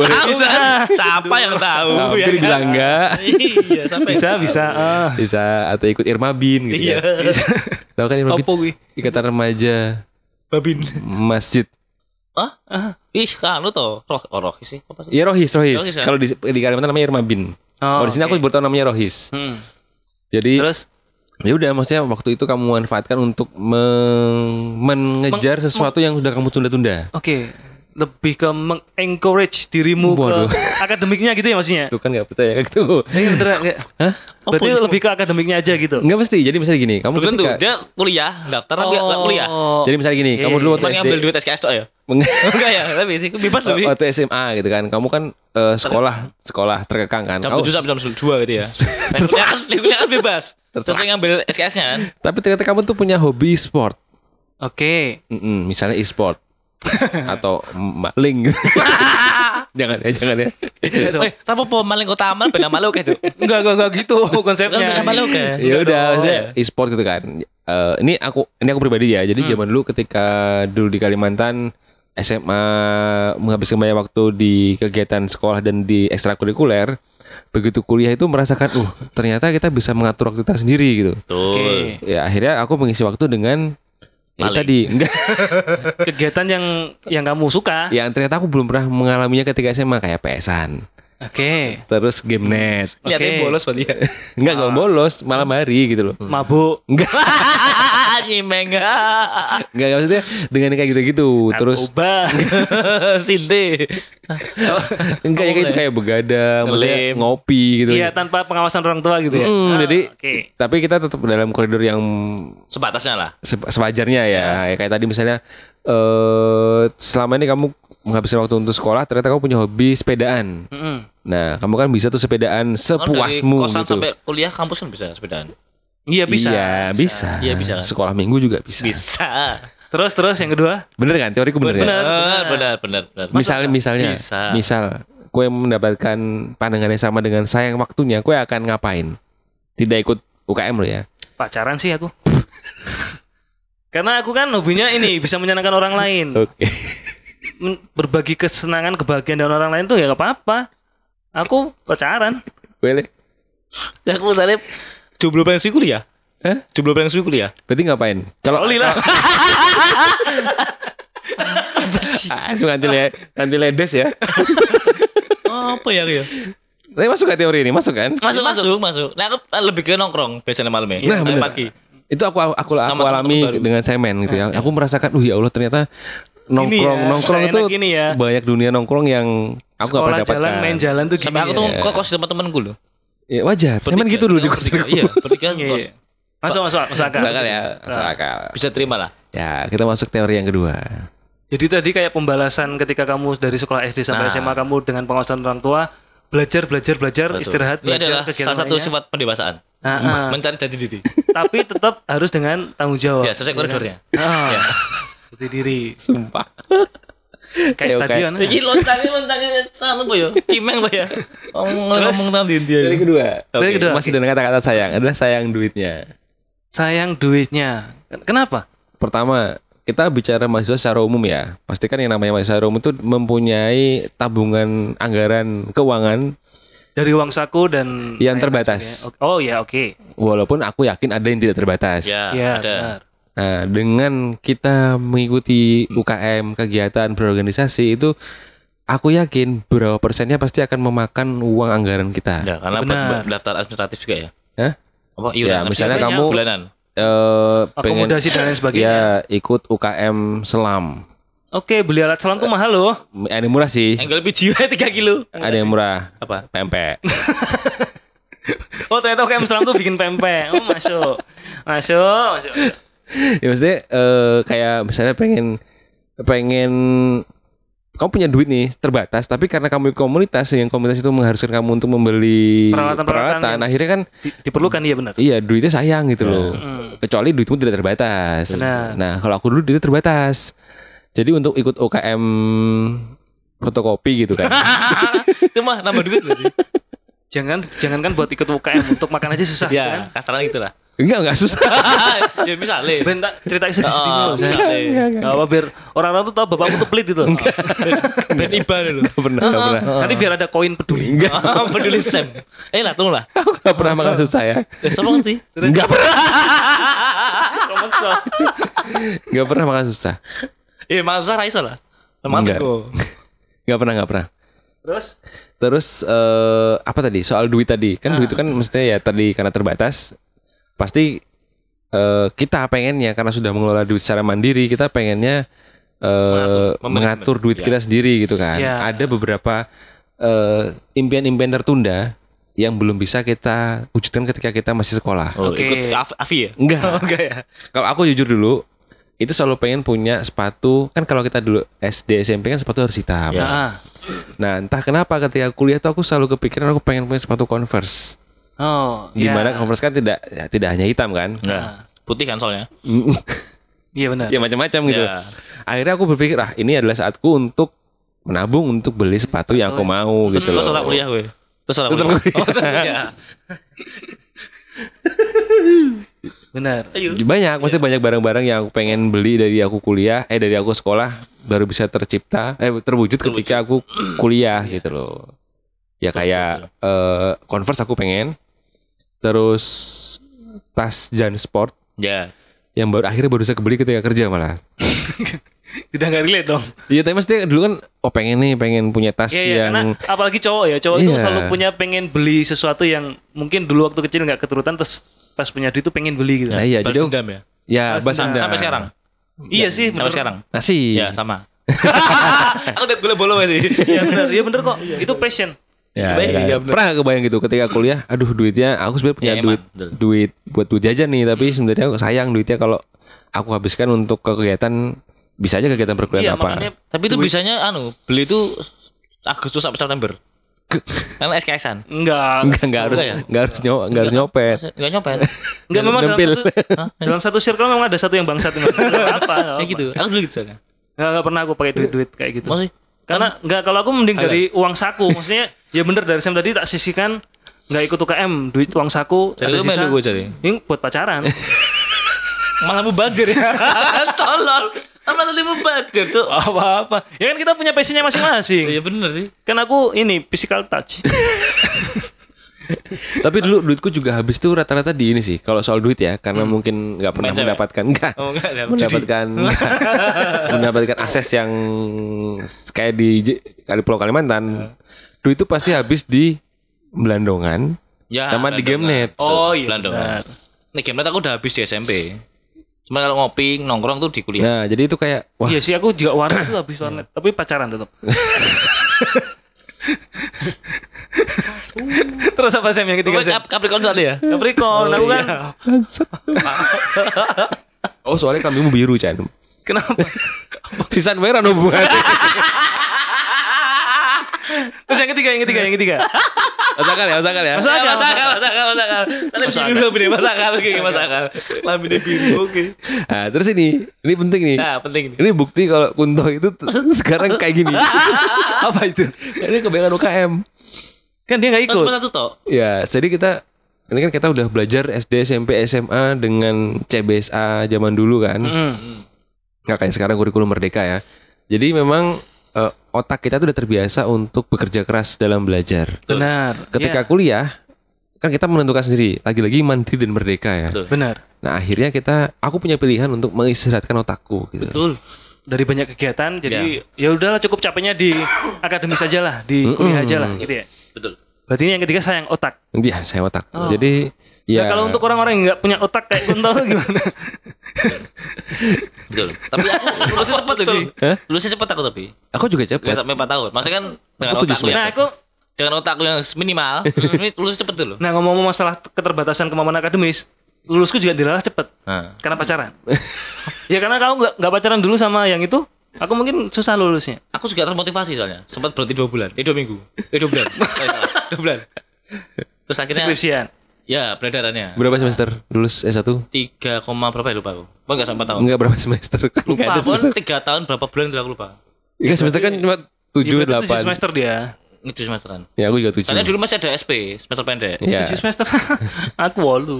Speaker 1: boleh.
Speaker 4: Bisa.
Speaker 2: Iya.
Speaker 4: Siapa yang tahu ya?
Speaker 1: Hampir
Speaker 4: kan?
Speaker 1: bilang enggak.
Speaker 4: Iya, siapa yang
Speaker 2: Bisa
Speaker 4: tahu?
Speaker 2: bisa. ah.
Speaker 1: Bisa atau ikut Irmabin gitu
Speaker 4: Iya.
Speaker 1: ya. Tahu kan Irmabin?
Speaker 4: Apa gue?
Speaker 1: Ikatan remaja
Speaker 4: Babin.
Speaker 1: masjid
Speaker 4: Hah? Ih, kan lu tau. Roh, oh, roh sih. Apa sih?
Speaker 1: Iya Rohis, Rohis.
Speaker 4: Rohis, ya?
Speaker 1: Kalau di, di Kalimantan namanya Irma Bin.
Speaker 2: Oh,
Speaker 1: Kalau di sini aku
Speaker 2: oke.
Speaker 1: baru tahu namanya Rohis.
Speaker 2: Hmm.
Speaker 1: Jadi
Speaker 2: Terus
Speaker 1: ya udah maksudnya waktu itu kamu manfaatkan untuk meng- mengejar sesuatu yang sudah kamu tunda-tunda.
Speaker 2: Oke, lebih ke mengencourage dirimu
Speaker 1: Waduh.
Speaker 2: ke akademiknya gitu ya maksudnya?
Speaker 1: Itu kan nggak percaya kan itu.
Speaker 2: Iya bener nggak?
Speaker 1: Hah?
Speaker 2: Berarti lebih ke akademiknya aja gitu.
Speaker 1: Enggak mesti. Jadi misalnya gini, kamu
Speaker 4: Bukan tuh,
Speaker 1: ketika
Speaker 4: dia kuliah, daftar tapi nggak
Speaker 2: Oh.
Speaker 4: nggak ya, kuliah.
Speaker 1: Jadi misalnya gini, kamu dulu waktu
Speaker 4: Cuman
Speaker 1: SD
Speaker 4: ngambil duit SKS tuh ya.
Speaker 1: meng-
Speaker 4: Enggak ya, tapi sih bebas
Speaker 2: Oh,
Speaker 4: lebih.
Speaker 1: waktu SMA gitu kan. Kamu kan eh, sekolah sekolah terkekang kan.
Speaker 4: Jam
Speaker 1: Kamu-
Speaker 4: 7 sampai jam 2 gitu ya. Terus kan kuliah kan bebas. Terus dia ngambil SKS-nya kan.
Speaker 1: tapi ternyata kamu tuh punya hobi sport.
Speaker 2: Oke.
Speaker 1: Mm-mm, misalnya e-sport atau maling. jangan ya, jangan ya.
Speaker 2: Enggak dong.
Speaker 4: Eh, apa po maling kota aman benar malu kayak tuh.
Speaker 2: Enggak, enggak, enggak gitu konsepnya.
Speaker 4: Benar malu kayak.
Speaker 1: ya udah
Speaker 2: Oh,
Speaker 1: maksudnya e-sport gitu kan Eh, ini aku ini aku pribadi ya jadi zaman dulu ketika dulu di Kalimantan SMA menghabiskan banyak waktu di kegiatan sekolah dan di ekstrakurikuler begitu kuliah itu merasakan uh ternyata kita bisa mengatur waktu kita sendiri gitu
Speaker 2: Oke.
Speaker 4: Tuh.
Speaker 1: ya akhirnya aku mengisi waktu dengan ya,
Speaker 4: Maling.
Speaker 1: tadi enggak
Speaker 2: Kegiatan yang yang kamu suka.
Speaker 1: yang ternyata aku belum pernah mengalaminya ketika SMA kayak pesan
Speaker 2: Oke.
Speaker 1: terus game net
Speaker 2: Oke.
Speaker 4: Lihatnya bolos berarti ya.
Speaker 1: enggak enggak bolos malam hari gitu loh
Speaker 2: Mabuk.
Speaker 4: Nyimeng.
Speaker 1: enggak maksudnya dengan kayak gitu-gitu terus
Speaker 2: Narkoba.
Speaker 4: Sinte.
Speaker 1: Enggak ya kayak itu kayak begadang, maksudnya
Speaker 4: Ngelim.
Speaker 1: ngopi gitu.
Speaker 2: Iya, tanpa pengawasan orang tua gitu ya.
Speaker 1: Mm,
Speaker 2: Ah,
Speaker 1: jadi
Speaker 2: Oke.
Speaker 1: tapi kita tetap dalam koridor yang
Speaker 4: Sebatasnya lah.
Speaker 1: se- sewajarnya ya. Ya, Kayak tadi misalnya eh selama ini kamu menghabiskan waktu untuk sekolah, ternyata kamu punya hobi sepedaan.
Speaker 2: Mm-mm.
Speaker 1: Nah, kamu kan bisa tuh sepedaan
Speaker 4: Kan dari
Speaker 1: sepuasmu
Speaker 4: kosan
Speaker 1: gitu.
Speaker 4: sampai kuliah kampus kan bisa sepedaan.
Speaker 2: Iya, bisa.
Speaker 1: Iya, bisa.
Speaker 4: Iya, bisa kan?
Speaker 1: Sekolah minggu juga bisa.
Speaker 4: Bisa.
Speaker 2: Terus terus yang kedua.
Speaker 1: Bener kan? Teoriku bener, ya?
Speaker 2: Bener.
Speaker 4: Benar, benar, benar, benar.
Speaker 1: Misalnya misalnya
Speaker 4: Bisa.
Speaker 1: misal kue mendapatkan pandangan yang sama dengan sayang waktunya, kue akan ngapain? Tidak ikut UKM lo ya.
Speaker 2: Pacaran sih aku. Karena aku kan hobinya ini bisa menyenangkan orang lain.
Speaker 1: Oke.
Speaker 2: men- berbagi kesenangan kebahagiaan dengan orang lain tuh ya gak apa-apa aku pacaran
Speaker 1: Wele,
Speaker 4: Ya, aku misalnya jomblo pengen suwi kuliah.
Speaker 1: Hah?
Speaker 4: Jomblo pengen suwi kuliah.
Speaker 1: berarti ngapain? Kalau
Speaker 2: oli lah
Speaker 1: ah, suka anti le- anti ledes ya.
Speaker 4: Apa ya aku ya?
Speaker 1: Tapi masuk gak teori ini? Masuk kan?
Speaker 4: Masuk, masuk, masuk. Nah, aku lebih ke nongkrong biasanya malam ya.
Speaker 1: Nah,
Speaker 4: Eh,
Speaker 1: bener.
Speaker 4: pagi.
Speaker 1: Itu aku aku, aku,
Speaker 4: Sama
Speaker 1: alami
Speaker 4: temen-temen baru.
Speaker 1: dengan semen gitu ya. Aku merasakan, uh ya Allah ternyata nongkrong
Speaker 2: Eh, ya,
Speaker 1: nongkrong
Speaker 2: seenak
Speaker 1: itu
Speaker 2: gini ya.
Speaker 1: banyak dunia nongkrong yang aku gak pernah
Speaker 2: sekolah
Speaker 1: dapatkan.
Speaker 2: jalan main jalan tuh gini
Speaker 4: Sampai aku tuh
Speaker 2: ya.
Speaker 4: kok kos sama temanku loh.
Speaker 1: Ya, wajar. Semen
Speaker 4: Bertiga,
Speaker 1: gitu dulu di
Speaker 4: sekarang
Speaker 1: kosan.
Speaker 4: bertiga. Iya, bertiga
Speaker 2: Iya,
Speaker 4: kos.
Speaker 2: iya. masuk masuk masuk akal.
Speaker 1: Masuk akal ya, masuk akal.
Speaker 4: Bisa terima lah.
Speaker 1: Ya, kita masuk teori yang kedua.
Speaker 2: jadi tadi kayak pembalasan ketika kamu dari sekolah SD sampai
Speaker 4: Nah.
Speaker 2: SMA kamu dengan pengawasan orang tua belajar belajar belajar istirahat
Speaker 4: Ini adalah
Speaker 2: belajar
Speaker 4: salah satu
Speaker 2: lainnya.
Speaker 4: sifat pendewasaan.
Speaker 2: Ah, ah.
Speaker 4: Mencari jati diri.
Speaker 2: tapi tetap harus dengan tanggung jawab
Speaker 4: ya, sesuai koridornya. Iya.
Speaker 2: Ah, jati diri
Speaker 1: Sumpah. Oke,
Speaker 2: kayak
Speaker 1: oke.
Speaker 2: stadion ya.
Speaker 4: Jadi loncatnya loncatnya sama apa ya? Cimeng apa ya? Ngomong ngomong nanti dia.
Speaker 1: Teori kedua.
Speaker 2: Teori kedua.
Speaker 1: Masih dengan kata-kata sayang, adalah sayang duitnya.
Speaker 2: sayang duitnya kenapa
Speaker 1: pertama kita bicara mahasiswa secara umum ya pasti kan yang namanya mahasiswa umum itu mempunyai tabungan anggaran keuangan
Speaker 2: dari wangsaku dan
Speaker 1: Yang
Speaker 2: lain-lain
Speaker 1: terbatas.
Speaker 2: sebagainya. Oh ya, oke.
Speaker 1: Walaupun aku yakin ada yang tidak terbatas.
Speaker 4: Ya,
Speaker 2: Iya,
Speaker 4: ada.
Speaker 2: benar.
Speaker 1: Nah, dengan kita mengikuti UKM, kegiatan berorganisasi itu aku yakin berapa persennya pasti akan memakan uang anggaran kita.
Speaker 4: Ya, karena
Speaker 2: Benar.
Speaker 4: buat- buat daftar administratif juga ya.
Speaker 1: Hah?
Speaker 4: Apa Iya, iuran?
Speaker 1: Ya, misalnya
Speaker 4: Apa sih
Speaker 1: kamu-
Speaker 4: bulanan.
Speaker 1: Eh, pengen
Speaker 2: Akomodasi dan lain sebagainya.
Speaker 1: ya ikut UKM selam.
Speaker 2: Oke, beli alat selam tuh mahal loh.
Speaker 1: Ada yang murah sih,
Speaker 4: Angle PGU 3 kilo.
Speaker 1: ada yang murah.
Speaker 4: Apa?
Speaker 1: PMP.
Speaker 2: Oh, ternyata UKM selam tuh bikin pempek. Oh, masuk. Masuk, masuk.
Speaker 1: ya maksudnya eh, kayak misalnya pengen pengen kamu punya duit nih terbatas tapi karena kamu ikut komunitas yang komunitas itu mengharuskan kamu untuk membeli
Speaker 2: Peralatan-peralatan yang-
Speaker 1: akhirnya kan
Speaker 2: Di- diperlukan iya benar.
Speaker 1: iya duitnya sayang gitu loh kecuali duitmu tidak terbatas
Speaker 2: Benar.
Speaker 1: nah kalau aku dulu duitnya terbatas jadi untuk ikut OKM fotokopi gitu kan
Speaker 4: Itu mah nambah duit loh sih.
Speaker 2: Jangan jangankan buat ikut UKM untuk makan aja susah kan.
Speaker 4: ya, kasaran gitu lah.
Speaker 1: enggak enggak susah
Speaker 4: ya misalnya.
Speaker 2: Ben tak ceritain sedih-sedih
Speaker 4: Oh,
Speaker 2: dulu. saya.
Speaker 4: misalnya.
Speaker 2: Nggak apa biar orang-orang tuh tahu bapakmu tuh pelit gitu. loh.
Speaker 4: Ben Iba dulu.
Speaker 1: Nggak pernah nggak pernah
Speaker 2: Nanti biar ada koin peduli.
Speaker 1: enggak
Speaker 4: Peduli Sam. Eh lah, tunggu lah.
Speaker 1: aku nggak pernah makan susah ya
Speaker 4: Eh, sama ngerti.
Speaker 1: enggak pernah
Speaker 2: Kok maksa?
Speaker 1: enggak pernah makan susah
Speaker 4: Eh, masa Raisa lah.
Speaker 1: Enggak.
Speaker 4: Masuk kok.
Speaker 1: enggak pernah enggak pernah
Speaker 2: Terus
Speaker 1: Terus eh, apa tadi soal duit tadi kan duit itu
Speaker 4: Ah.
Speaker 1: kan mestinya ya tadi karena terbatas pasti eh, kita pengennya karena sudah mengelola duit secara mandiri kita pengennya eh,
Speaker 4: Mengatur,
Speaker 1: mengatur,
Speaker 4: memanajemen.
Speaker 1: duit
Speaker 4: Ya.
Speaker 1: kita sendiri gitu kan
Speaker 2: Ya.
Speaker 1: ada beberapa eh, impian-impian tertunda yang belum bisa kita wujudkan ketika kita masih sekolah
Speaker 4: Oh,
Speaker 2: Oke.
Speaker 4: ikut Af- Avi ya?
Speaker 1: enggak
Speaker 4: Enggak ya.
Speaker 1: kalau aku jujur dulu itu selalu pengen punya sepatu kan kalau kita dulu SD SMP kan sepatu harus hitam
Speaker 4: Ya.
Speaker 2: ah.
Speaker 1: Nah entah kenapa ketika kuliah tuh aku selalu kepikiran aku pengen punya sepatu Converse.
Speaker 2: Oh,
Speaker 1: Di
Speaker 2: ya.
Speaker 1: mana Converse kan tidak ya, tidak hanya hitam kan?
Speaker 4: Nah, putih kan soalnya.
Speaker 2: Iya benar.
Speaker 1: ya macam-macam gitu.
Speaker 4: Ya.
Speaker 1: Akhirnya aku berpikir ah ini adalah saatku untuk menabung untuk beli sepatu yang aku mau
Speaker 4: Terus
Speaker 1: gitu
Speaker 4: terus orang
Speaker 1: loh.
Speaker 4: kuliah gue. Terus orang
Speaker 1: Tetap
Speaker 4: kuliah.
Speaker 1: kuliah.
Speaker 4: Oh, terus ya.
Speaker 2: Benar.
Speaker 1: Banyak, maksudnya
Speaker 4: Iya.
Speaker 1: banyak barang-barang yang aku pengen beli dari aku kuliah, eh dari aku sekolah baru bisa tercipta, eh terwujud, ketika aku kuliah
Speaker 4: Iya.
Speaker 1: gitu loh. Ya kayak eh, Converse aku pengen, terus tas Jansport
Speaker 4: Ya.
Speaker 1: yang baru akhirnya baru bisa kebeli ketika kerja malah.
Speaker 2: Tidak nggak relate dong.
Speaker 1: Iya, tapi maksudnya dulu kan oh pengen nih pengen punya tas
Speaker 2: Iya, iya, karena
Speaker 1: yang
Speaker 2: apalagi cowok ya, cowok itu
Speaker 1: Iya.
Speaker 2: selalu punya pengen beli sesuatu yang mungkin dulu waktu kecil nggak keturutan terus pas punya duit tuh pengen beli gitu.
Speaker 1: Nah, iya,
Speaker 4: Balas
Speaker 1: jadi aku-
Speaker 4: dendam ya.
Speaker 1: ya
Speaker 4: Balas
Speaker 1: bas
Speaker 4: dendam.
Speaker 1: dendam.
Speaker 4: Sampai sekarang.
Speaker 2: iya sih, bener.
Speaker 4: Sampai sekarang.
Speaker 1: Nasi.
Speaker 4: Ya, sama. Aku udah gue bolo sih.
Speaker 2: Iya benar, iya bener kok. itu passion.
Speaker 1: Ya,
Speaker 4: Kebayang,
Speaker 1: ya.
Speaker 4: iya, bener.
Speaker 1: Pernah gak kebayang gitu ketika kuliah, aduh duitnya aku sebenarnya punya
Speaker 4: Ya, emang,
Speaker 1: duit
Speaker 4: betul. Hmm.
Speaker 1: duit buat duit jajan nih, tapi sebenarnya aku sayang duitnya kalau aku habiskan untuk ke kegiatan bisa aja kegiatan
Speaker 2: Iya,
Speaker 1: perkuliahan apa.
Speaker 2: makanya
Speaker 4: Tapi itu bisanya anu, beli itu Agustus sampai September. Karena SKS-an.
Speaker 2: enggak.
Speaker 1: Enggak, enggak harus
Speaker 4: Enggak ya?
Speaker 1: enggak harus nyo- enggak harus nyopet.
Speaker 4: Enggak nyopet.
Speaker 2: Enggak memang dalam
Speaker 1: Nempel.
Speaker 2: satu, dalam satu circle memang ada satu yang bangsat dengan apa.
Speaker 4: Kayak gitu. Aku dulu gitu soalnya.
Speaker 2: Enggak, enggak pernah aku pakai duit-duit kayak gitu.
Speaker 4: Maksudnya
Speaker 2: Karena enggak kalau aku mending dari uang saku, maksudnya ya bener dari Sam tadi tak sisihkan nggak ikut UKM, duit uang saku
Speaker 4: Jadi lu melu gue jadi.
Speaker 2: Ini buat pacaran.
Speaker 4: malah mubazir ya. Tolol. Apa tadi mubazir, Cuk?
Speaker 2: Apa-apa. Ya kan kita punya passionnya masing-masing.
Speaker 4: Iya bener sih.
Speaker 2: Kan aku ini physical touch.
Speaker 1: Tapi dulu duitku juga habis tuh rata-rata di ini sih. Kalau soal duit ya, karena mungkin nggak pernah
Speaker 4: Main cewek.
Speaker 1: mendapatkan enggak.
Speaker 4: Hmm. Oh, enggak, enggak.
Speaker 1: mendapatkan mendapatkan akses yang kayak di J- di Pulau
Speaker 4: Hmm.
Speaker 1: Kalimantan. Duit itu pasti habis di Belandongan
Speaker 4: Ya,
Speaker 1: sama di
Speaker 4: Belandongan.
Speaker 1: GameNet.
Speaker 2: Oh iya.
Speaker 4: Belanda.
Speaker 2: benar.
Speaker 4: Nih game aku udah habis di SMP. Cuma kalau ngopi, nongkrong tuh di kuliah.
Speaker 1: Nah, jadi itu kayak wah,
Speaker 2: Iya sih aku juga warnet tuh habis warnet, tapi pacaran tetap. Terus apa Sam yang ketiga Sam?
Speaker 4: Kap- Capricorn soalnya ya.
Speaker 2: Capricorn, aku kan
Speaker 1: oh soalnya kambingmu biru, Chan.
Speaker 2: kenapa?
Speaker 1: Sisan merah no hubungannya.
Speaker 2: Terus yang ketiga, yang ketiga, yang ketiga.
Speaker 1: Masuk akal ya, masuk akal ya.
Speaker 2: Masuk akal,
Speaker 4: Masuk akal, masuk akal, masuk akal. Tadi biru lambine masuk akal, oke masuk akal. Lambine biru, oke.
Speaker 1: Nah, terus ini, ini penting nih.
Speaker 4: Nah, penting ini.
Speaker 1: Ini bukti kalau Kunto itu t- sekarang kayak gini. Apa itu? Ini kebanyakan UKM.
Speaker 2: Kan dia nggak ikut.
Speaker 4: Cuma satu toh.
Speaker 1: Ya, jadi kita ini kan kita udah belajar SD, SMP, SMA dengan CBSA zaman dulu kan.
Speaker 2: Mm.
Speaker 1: Nggak kayak sekarang kurikulum merdeka ya. Jadi memang eh, otak kita tuh udah terbiasa untuk bekerja keras dalam belajar.
Speaker 2: Benar.
Speaker 1: Ketika
Speaker 2: Iya,
Speaker 1: kuliah kan kita menentukan sendiri, lagi-lagi mandiri dan merdeka ya.
Speaker 4: Betul.
Speaker 2: benar.
Speaker 1: Nah, akhirnya kita aku punya pilihan untuk mengistirahatkan otakku gitu.
Speaker 4: Betul.
Speaker 2: Dari banyak
Speaker 1: Iya.
Speaker 2: kegiatan jadi ya udahlah cukup capeknya di akademis aja lah, di kuliah aja lah gitu ya.
Speaker 4: Betul.
Speaker 2: Berarti ini yang ketiga sayang otak.
Speaker 1: Iya, saya otak. Jadi ya
Speaker 2: Nah, kalau untuk orang-orang yang nggak punya otak kayak Kunto gimana?
Speaker 4: Betul. Tapi aku lulusnya cepat loh, Ji. Lulusnya cepat aku tapi.
Speaker 1: aku juga
Speaker 4: Gak
Speaker 1: cepat.
Speaker 4: sampai 4 tahun. Maksudnya kan dengan
Speaker 1: Aku tujuh
Speaker 4: otakku
Speaker 2: Nah,
Speaker 4: yang
Speaker 2: aku
Speaker 4: dengan otakku yang minimal, hmm, ini lulusnya cepet dulu.
Speaker 2: nah ngomong-ngomong masalah keterbatasan kemampuan akademis, lulusku juga dilalah cepet
Speaker 4: Nah.
Speaker 2: karena pacaran. ya karena kalau nggak nggak pacaran dulu sama yang itu, aku mungkin susah lulusnya.
Speaker 4: Aku juga termotivasi soalnya. Sempat berhenti 2 bulan. Eh 2 minggu. Eh 2 bulan. Sorry, salah. 2 bulan. Terus akhirnya
Speaker 2: Skripsian.
Speaker 4: ya peredarannya
Speaker 1: Berapa semester lulus S1?
Speaker 4: 3, koma berapa ya lupa aku. Apa enggak
Speaker 2: Oh.
Speaker 4: sampai 4 tahun.
Speaker 1: Enggak berapa semester kan? Enggak
Speaker 4: Lupa,
Speaker 1: ada
Speaker 4: aku
Speaker 1: semester.
Speaker 4: 3 tahun berapa bulan itu aku lupa.
Speaker 1: Enggak semester kan cuma
Speaker 2: Ya,
Speaker 1: 7
Speaker 2: berarti tujuh
Speaker 1: 8.
Speaker 2: semester dia.
Speaker 4: Ini 7 semesteran.
Speaker 1: Ya, aku juga
Speaker 4: Karena
Speaker 1: 7.
Speaker 4: dulu masih ada SP, semester pendek.
Speaker 1: Iya.
Speaker 2: Tujuh semester. aku walu.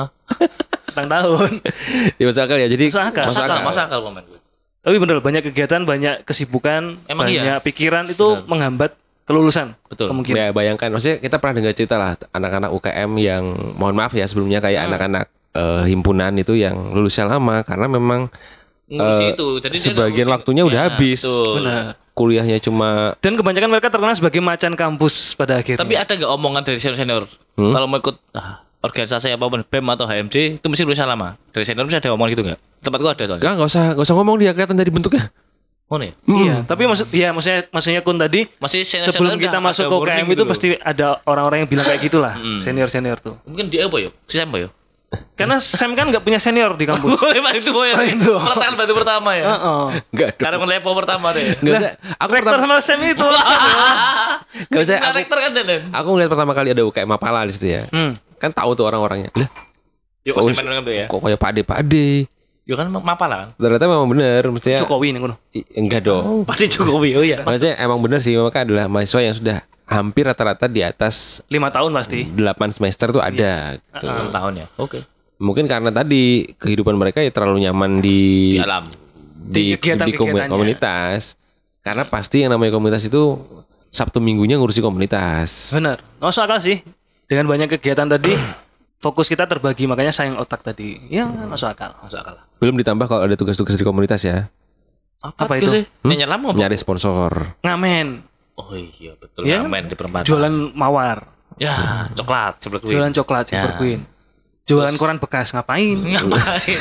Speaker 2: Tentang tahun.
Speaker 1: Ya masuk akal ya. Jadi
Speaker 2: Masuk akal.
Speaker 4: Masuk akal,
Speaker 1: masuk
Speaker 4: masuk akal komen gue.
Speaker 2: Tapi bener banyak kegiatan, banyak kesibukan,
Speaker 4: Emang
Speaker 2: banyak
Speaker 4: iya?
Speaker 2: pikiran itu menghambat kelulusan.
Speaker 4: Betul. Iya.
Speaker 2: Kemungkinan.
Speaker 1: Ya bayangkan, maksudnya kita pernah dengar cerita lah anak-anak UKM yang mohon maaf ya sebelumnya
Speaker 2: Ah.
Speaker 1: kayak anak-anak eh, himpunan itu yang lulusnya lama karena memang
Speaker 4: Ngurusi
Speaker 1: eh,
Speaker 4: itu. Jadi dia
Speaker 1: sebagian
Speaker 4: ngurusi-
Speaker 1: waktunya udah
Speaker 4: Ya,
Speaker 1: habis.
Speaker 4: betul.
Speaker 2: Benar.
Speaker 1: kuliahnya cuma
Speaker 2: Dan kebanyakan mereka terkenal sebagai macan kampus pada akhirnya.
Speaker 4: Tapi ada nggak omongan dari senior-senior?
Speaker 2: Hmm?
Speaker 4: Kalau mau ikut ah, organisasi apapun, BEM atau HMC, itu mesti lulusnya lama. Dari senior mesti ada omongan gitu nggak? Tempatku ada soalnya.
Speaker 1: enggak enggak usah enggak usah ngomong dia kelihatan dari bentuknya.
Speaker 4: Oh nih.
Speaker 2: Iya, tapi maksud ya maksudnya maksudnya Kun tadi
Speaker 4: Masih senior
Speaker 2: sebelum kita masuk ke UKM
Speaker 4: gitu
Speaker 2: itu pasti ada orang-orang yang bilang kayak gitulah,
Speaker 4: Hmm.
Speaker 2: senior-senior tuh.
Speaker 4: mungkin dia apa yuk? Si ya? Sam apa yuk?
Speaker 2: Karena Sam kan nggak punya senior di kampus.
Speaker 4: Oh, emang itu boy.
Speaker 2: itu.
Speaker 4: Pertanyaan batu pertama ya.
Speaker 2: Heeh.
Speaker 1: Enggak. dong.
Speaker 4: Karena lepo pertama deh.
Speaker 1: Enggak usah. Aku
Speaker 2: Rektor
Speaker 1: pertama
Speaker 2: sama Sam itu.
Speaker 1: enggak usah aku,
Speaker 4: Karakter kan dan.
Speaker 1: aku ngeliat pertama kali ada UKM Mapala di situ ya.
Speaker 2: Hmm.
Speaker 1: Kan tahu tuh orang-orangnya. Lah,
Speaker 4: Yuk
Speaker 1: Oh,
Speaker 4: kasih main dengan tuh ya.
Speaker 1: kok kayak Pakde Pakde.
Speaker 4: Yuk kan mapa lah. kan?
Speaker 1: Ternyata memang benar, maksudnya
Speaker 2: Jokowi nih Kun.
Speaker 1: I- enggak dong.
Speaker 4: Pasti
Speaker 2: iya,
Speaker 4: Jokowi oh ya.
Speaker 1: Maksudnya emang benar sih, mereka adalah mahasiswa yang sudah hampir rata-rata di atas
Speaker 2: Lima tahun pasti.
Speaker 1: 8 semester tuh ada gitu.
Speaker 4: Enam tahun ya. Oke.
Speaker 1: Mungkin karena tadi kehidupan mereka ya terlalu nyaman di
Speaker 2: Iya.
Speaker 4: Di alam.
Speaker 1: di,
Speaker 2: Di
Speaker 1: di,
Speaker 2: kegiatan-
Speaker 1: komu-
Speaker 2: kegiatannya.
Speaker 1: komunitas. Karena pasti yang namanya komunitas itu Sabtu minggunya ngurusi komunitas.
Speaker 2: Benar. Masuk akal sih. Dengan banyak kegiatan tadi fokus kita terbagi makanya sayang otak tadi. Ya, masuk akal.
Speaker 4: Masuk akal lah.
Speaker 1: Belum ditambah kalau ada tugas-tugas di komunitas ya.
Speaker 2: Apa
Speaker 4: Gitu
Speaker 2: itu? Hmm?
Speaker 4: sih? Nanya lama apa?
Speaker 1: Nyari sponsor.
Speaker 2: Ngamen,
Speaker 4: Oh iya betul.
Speaker 2: Iya,
Speaker 4: Ngamen di perempatan.
Speaker 2: jualan mawar,
Speaker 4: Ya, coklat sebelah gue.
Speaker 2: jualan coklat Silver Queen. Jualan koran bekas ngapain?
Speaker 4: Ngapain?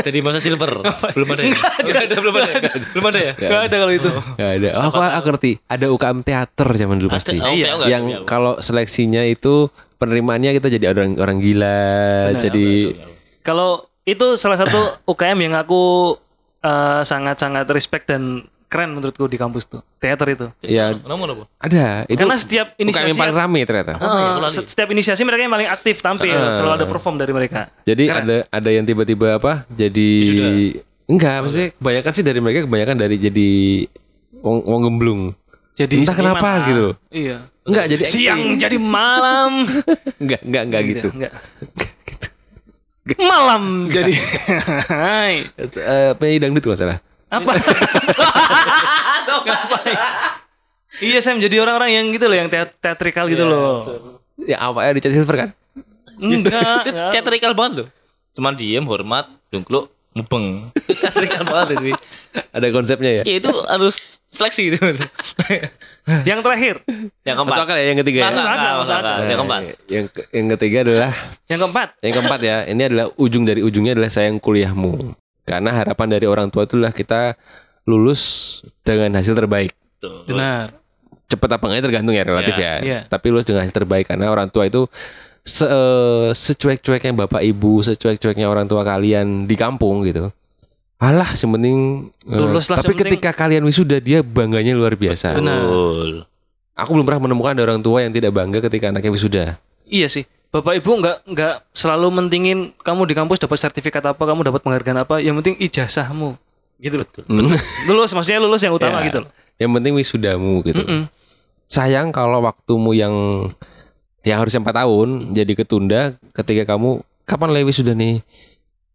Speaker 4: Jadi masa silver. Belum ada ya? Enggak ada, belum ada. ya? Belum ada ya?
Speaker 2: Gak ada kalau itu.
Speaker 1: Gak ada. Oh, aku, aku ngerti. Ada UKM teater zaman dulu pasti.
Speaker 4: Oh, iya. enggak,
Speaker 1: yang
Speaker 4: enggak, enggak.
Speaker 1: kalau seleksinya itu penerimaannya kita jadi orang orang gila. jadi
Speaker 2: Kalau itu salah satu UKM yang aku eh, sangat-sangat respect dan keren menurutku di kampus tuh teater itu.
Speaker 1: ya
Speaker 4: Nomor apa?
Speaker 1: ada. Itu
Speaker 2: Karena setiap
Speaker 1: UKM
Speaker 2: inisiasi
Speaker 1: yang paling ya? rame ternyata.
Speaker 2: Eh, setiap inisiasi mereka yang paling aktif tampil, selalu ada perform dari mereka.
Speaker 1: Jadi ada ada yang tiba-tiba apa? Jadi enggak, maksudnya kebanyakan sih dari mereka kebanyakan dari jadi wong wong gemblung.
Speaker 2: Jadi
Speaker 1: Entah
Speaker 2: seniman
Speaker 1: kenapa
Speaker 2: lah.
Speaker 1: gitu.
Speaker 2: Iya.
Speaker 1: Enggak, jadi acting.
Speaker 2: Siang jadi malam.
Speaker 1: enggak, enggak, enggak gitu.
Speaker 2: Enggak. Malam jadi. Hai.
Speaker 1: Eh penyanyi dangdut kalau salah.
Speaker 2: Apa? Iya Sam jadi orang-orang yang gitu loh yang teat- teatrikal gitu loh.
Speaker 1: Ya apa ya Richard Silver kan?
Speaker 2: Enggak.
Speaker 4: Itu teatrikal banget loh. Cuman diem, hormat, dungkluk, mubeng. Itu Teatrikal banget itu.
Speaker 1: Ada konsepnya ya.
Speaker 4: Ya itu harus seleksi itu.
Speaker 2: yang terakhir,
Speaker 4: yang
Speaker 1: Masuk
Speaker 4: keempat.
Speaker 1: akal ya yang ketiga ya.
Speaker 4: Masuk akal, masuk akal. Iya.
Speaker 1: Nah,
Speaker 4: Yang keempat.
Speaker 1: Yang ke- yang ketiga adalah
Speaker 2: yang keempat.
Speaker 1: yang keempat ya. Ini adalah ujung dari ujungnya adalah sayang kuliahmu. Karena harapan dari orang tua itulah kita lulus dengan hasil terbaik.
Speaker 4: Tuh.
Speaker 2: Benar.
Speaker 1: cepet apa enggaknya tergantung ya relatif
Speaker 4: Iya,
Speaker 1: ya.
Speaker 2: iya.
Speaker 1: Tapi lu dengan hasil terbaik karena orang tua itu se eh, secuek-cueknya bapak ibu, secuek-cueknya orang tua kalian di kampung gitu. Alah, yang penting eh,
Speaker 2: Lulus lah,
Speaker 1: Tapi
Speaker 2: yang penting-
Speaker 1: ketika kalian wisuda dia bangganya luar biasa.
Speaker 2: Benar.
Speaker 4: Betul.
Speaker 1: Aku belum pernah menemukan ada orang tua yang tidak bangga ketika anaknya wisuda.
Speaker 2: Iya sih. Bapak Ibu nggak nggak selalu mentingin kamu di kampus dapat sertifikat apa, kamu dapat penghargaan apa, yang penting ijazahmu.
Speaker 4: Gitu betul.
Speaker 2: Lulus maksudnya lulus yang utama
Speaker 1: Ya.
Speaker 2: gitu loh.
Speaker 1: Yang penting wisudamu gitu.
Speaker 2: Mm-mm.
Speaker 1: Sayang kalau waktumu yang yang harusnya 4 tahun jadi ketunda ketika kamu kapan lewi sudah nih?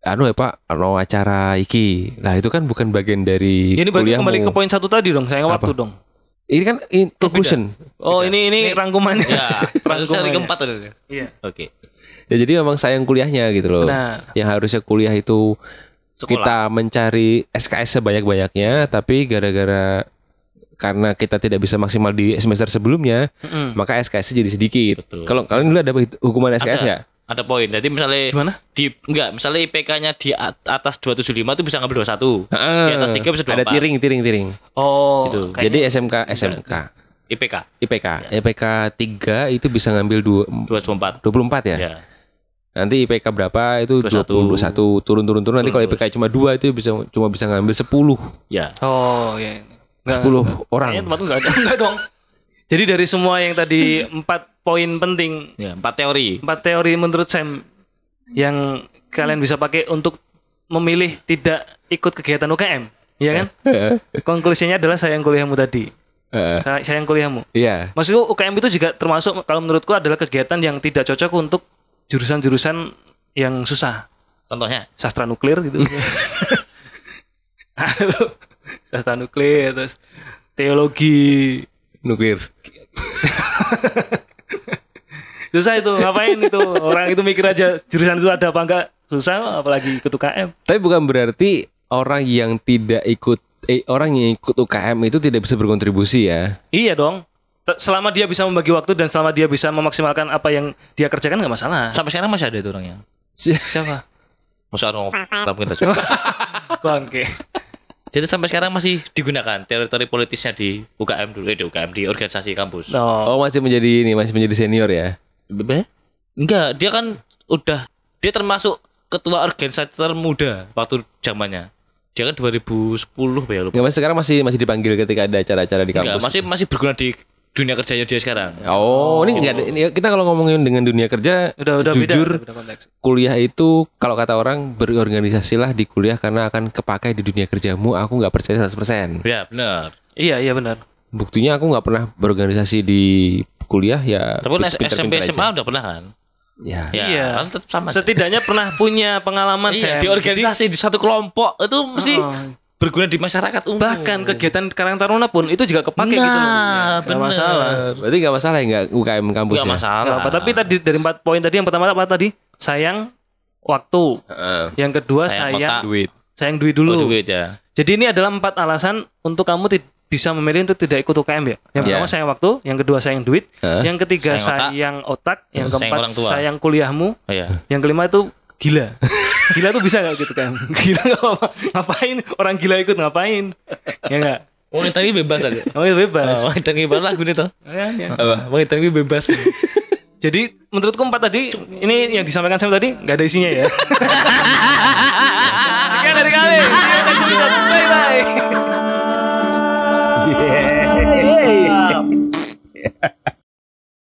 Speaker 1: anu ya Pak, ano acara iki. Nah, itu kan bukan bagian dari
Speaker 2: Ya, ini berarti
Speaker 1: kuliahmu.
Speaker 2: kembali ke poin satu tadi dong, saya nggak waktu
Speaker 1: Apa?
Speaker 2: dong.
Speaker 1: Ini kan in- conclusion.
Speaker 2: Oh, ini ini rangkumannya.
Speaker 4: Ya, harusnya
Speaker 2: Rangkumannya.
Speaker 4: hari keempat tadi.
Speaker 2: Iya.
Speaker 4: Oke.
Speaker 1: Ya jadi memang sayang kuliahnya gitu loh.
Speaker 2: Nah.
Speaker 1: Yang harusnya kuliah itu kita mencari SKS sebanyak-banyaknya tapi gara-gara karena kita tidak bisa maksimal di semester sebelumnya,
Speaker 2: Mm-mm.
Speaker 1: maka SKS jadi sedikit.
Speaker 4: Betul.
Speaker 1: Kalau kalian dulu ada hukuman SKS nggak?
Speaker 4: Ada poin. Jadi misalnya
Speaker 2: Gimana?
Speaker 4: di enggak, misalnya IPK-nya di at- atas 275 itu bisa ngambil 21.
Speaker 1: Heeh.
Speaker 4: Di atas 3 bisa
Speaker 1: Ah,
Speaker 4: 24.
Speaker 1: Ada tiring, tiring, tiring.
Speaker 2: Oh,
Speaker 4: Gitu.
Speaker 2: kayaknya-
Speaker 1: Jadi SMK, SMK,
Speaker 4: IPK
Speaker 1: IPK, IPK 3 itu bisa ngambil dua,
Speaker 4: 224.
Speaker 1: 24 ya.
Speaker 4: Ya.
Speaker 1: Nanti IPK berapa itu 21,
Speaker 4: 21.
Speaker 1: turun-turun-turun. Nanti kalau IPK cuma dua itu bisa cuma bisa ngambil 10, 10
Speaker 4: Ya.
Speaker 2: Oh, ya. Enggak.
Speaker 1: orang.
Speaker 2: Kayaknya tempatku enggak ada. Enggak dong. Jadi dari semua yang tadi empat poin penting,
Speaker 4: Ya, empat teori.
Speaker 2: empat teori menurut Sam yang kalian bisa pakai untuk memilih tidak ikut kegiatan UKM, ya kan? Konklusinya adalah sayang kuliahmu tadi.
Speaker 1: Eh,
Speaker 2: Say- Sayang kuliahmu.
Speaker 1: Iya.
Speaker 2: Maksudku UKM itu juga termasuk kalau menurutku adalah kegiatan yang tidak cocok untuk jurusan-jurusan yang susah.
Speaker 4: Contohnya
Speaker 2: Sastra nuklir gitu. Halo. Sastra nuklir terus teologi.
Speaker 1: Nuklir.
Speaker 2: Susah itu ngapain itu orang itu mikir aja jurusan itu ada apa enggak susah apalagi ikut UKM.
Speaker 1: Tapi bukan berarti orang yang tidak ikut eh, orang yang ikut UKM itu tidak bisa berkontribusi ya.
Speaker 2: Iya dong. Te- Selama dia bisa membagi waktu dan selama dia bisa memaksimalkan apa yang dia kerjakan nggak masalah.
Speaker 4: sampai sekarang masih ada itu orangnya.
Speaker 2: Siapa?
Speaker 4: Masih ada orang mungkin tak cukup.
Speaker 2: Bangke.
Speaker 4: Jadi sampai sekarang masih digunakan teori-teori politisnya di UKM dulu, eh, di UKM di organisasi kampus.
Speaker 2: No.
Speaker 1: Oh masih menjadi ini masih menjadi senior ya.
Speaker 4: Be- Enggak, dia kan udah dia termasuk ketua organisasi termuda waktu zamannya. Dia kan 2010 apa ya lupa.
Speaker 1: Nggak mas sekarang masih masih dipanggil ketika ada acara-acara di
Speaker 4: Enggak,
Speaker 1: kampus.
Speaker 4: masih masih berguna di dunia kerjanya dia sekarang.
Speaker 1: Oh, ini nggak ada. Ini kita kalau ngomongin dengan dunia kerja,
Speaker 2: Udah udah beda,
Speaker 1: jujur
Speaker 2: udah beda konteks.
Speaker 1: kuliah itu kalau kata orang berorganisasilah di kuliah karena akan kepakai di dunia kerjamu. Aku nggak percaya 100%.
Speaker 4: Ya, benar.
Speaker 2: Iya iya benar.
Speaker 1: Buktinya aku nggak pernah berorganisasi di kuliah ya.
Speaker 4: Tapi kan
Speaker 1: pinter-pinter
Speaker 4: SMP
Speaker 1: aja.
Speaker 4: SMA udah pernah kan?
Speaker 1: Ya.
Speaker 4: Ya,
Speaker 2: Iya.
Speaker 4: kan tetap sama.
Speaker 2: Setidaknya pernah punya pengalaman
Speaker 4: Iya,
Speaker 2: Sam.
Speaker 4: di organisasi di satu kelompok itu mesti
Speaker 2: Oh.
Speaker 4: berguna di masyarakat umum.
Speaker 2: bahkan kegiatan Karang Taruna pun itu juga kepake gitu loh. maksudnya.
Speaker 4: Nah,
Speaker 2: Nggak
Speaker 4: benar.
Speaker 2: masalah.
Speaker 1: Berarti nggak masalah ya nggak UKM kampus
Speaker 4: Enggak
Speaker 1: ya?
Speaker 4: masalah.
Speaker 2: Nggak apa, tapi tadi dari empat poin tadi yang pertama apa tadi? Sayang waktu. Yang kedua
Speaker 4: Sayang
Speaker 2: sayang sayang,
Speaker 4: otak.
Speaker 1: Duit.
Speaker 2: duit dulu.
Speaker 4: Oh, duit ya.
Speaker 2: Jadi ini adalah empat alasan untuk kamu ti- bisa memilih untuk tidak ikut UKM ya. Yang pertama
Speaker 1: Iya.
Speaker 2: sayang waktu, yang kedua sayang duit,
Speaker 1: Heeh.
Speaker 2: yang ketiga
Speaker 4: Sayang otak.
Speaker 2: sayang otak, yang
Speaker 4: Sayang
Speaker 2: keempat
Speaker 4: orang tua.
Speaker 2: sayang kuliahmu,
Speaker 4: Oh, iya.
Speaker 2: yang kelima itu gila. Gila tuh bisa nggak gitu kan? Gila nggak apa-apa. Ngapain orang gila ikut ngapain? Ya nggak.
Speaker 4: Oh, tadi bebas aja.
Speaker 2: Kamu itu bebas.
Speaker 4: Oh, tadi baru lagu nih toh.
Speaker 2: Ya, ya.
Speaker 4: Apa? Bang Intan ini bebas.
Speaker 2: Jadi menurutku empat tadi ini yang disampaikan Sam tadi nggak ada isinya ya. Sekian dari kami. See you next episode. Bye bye.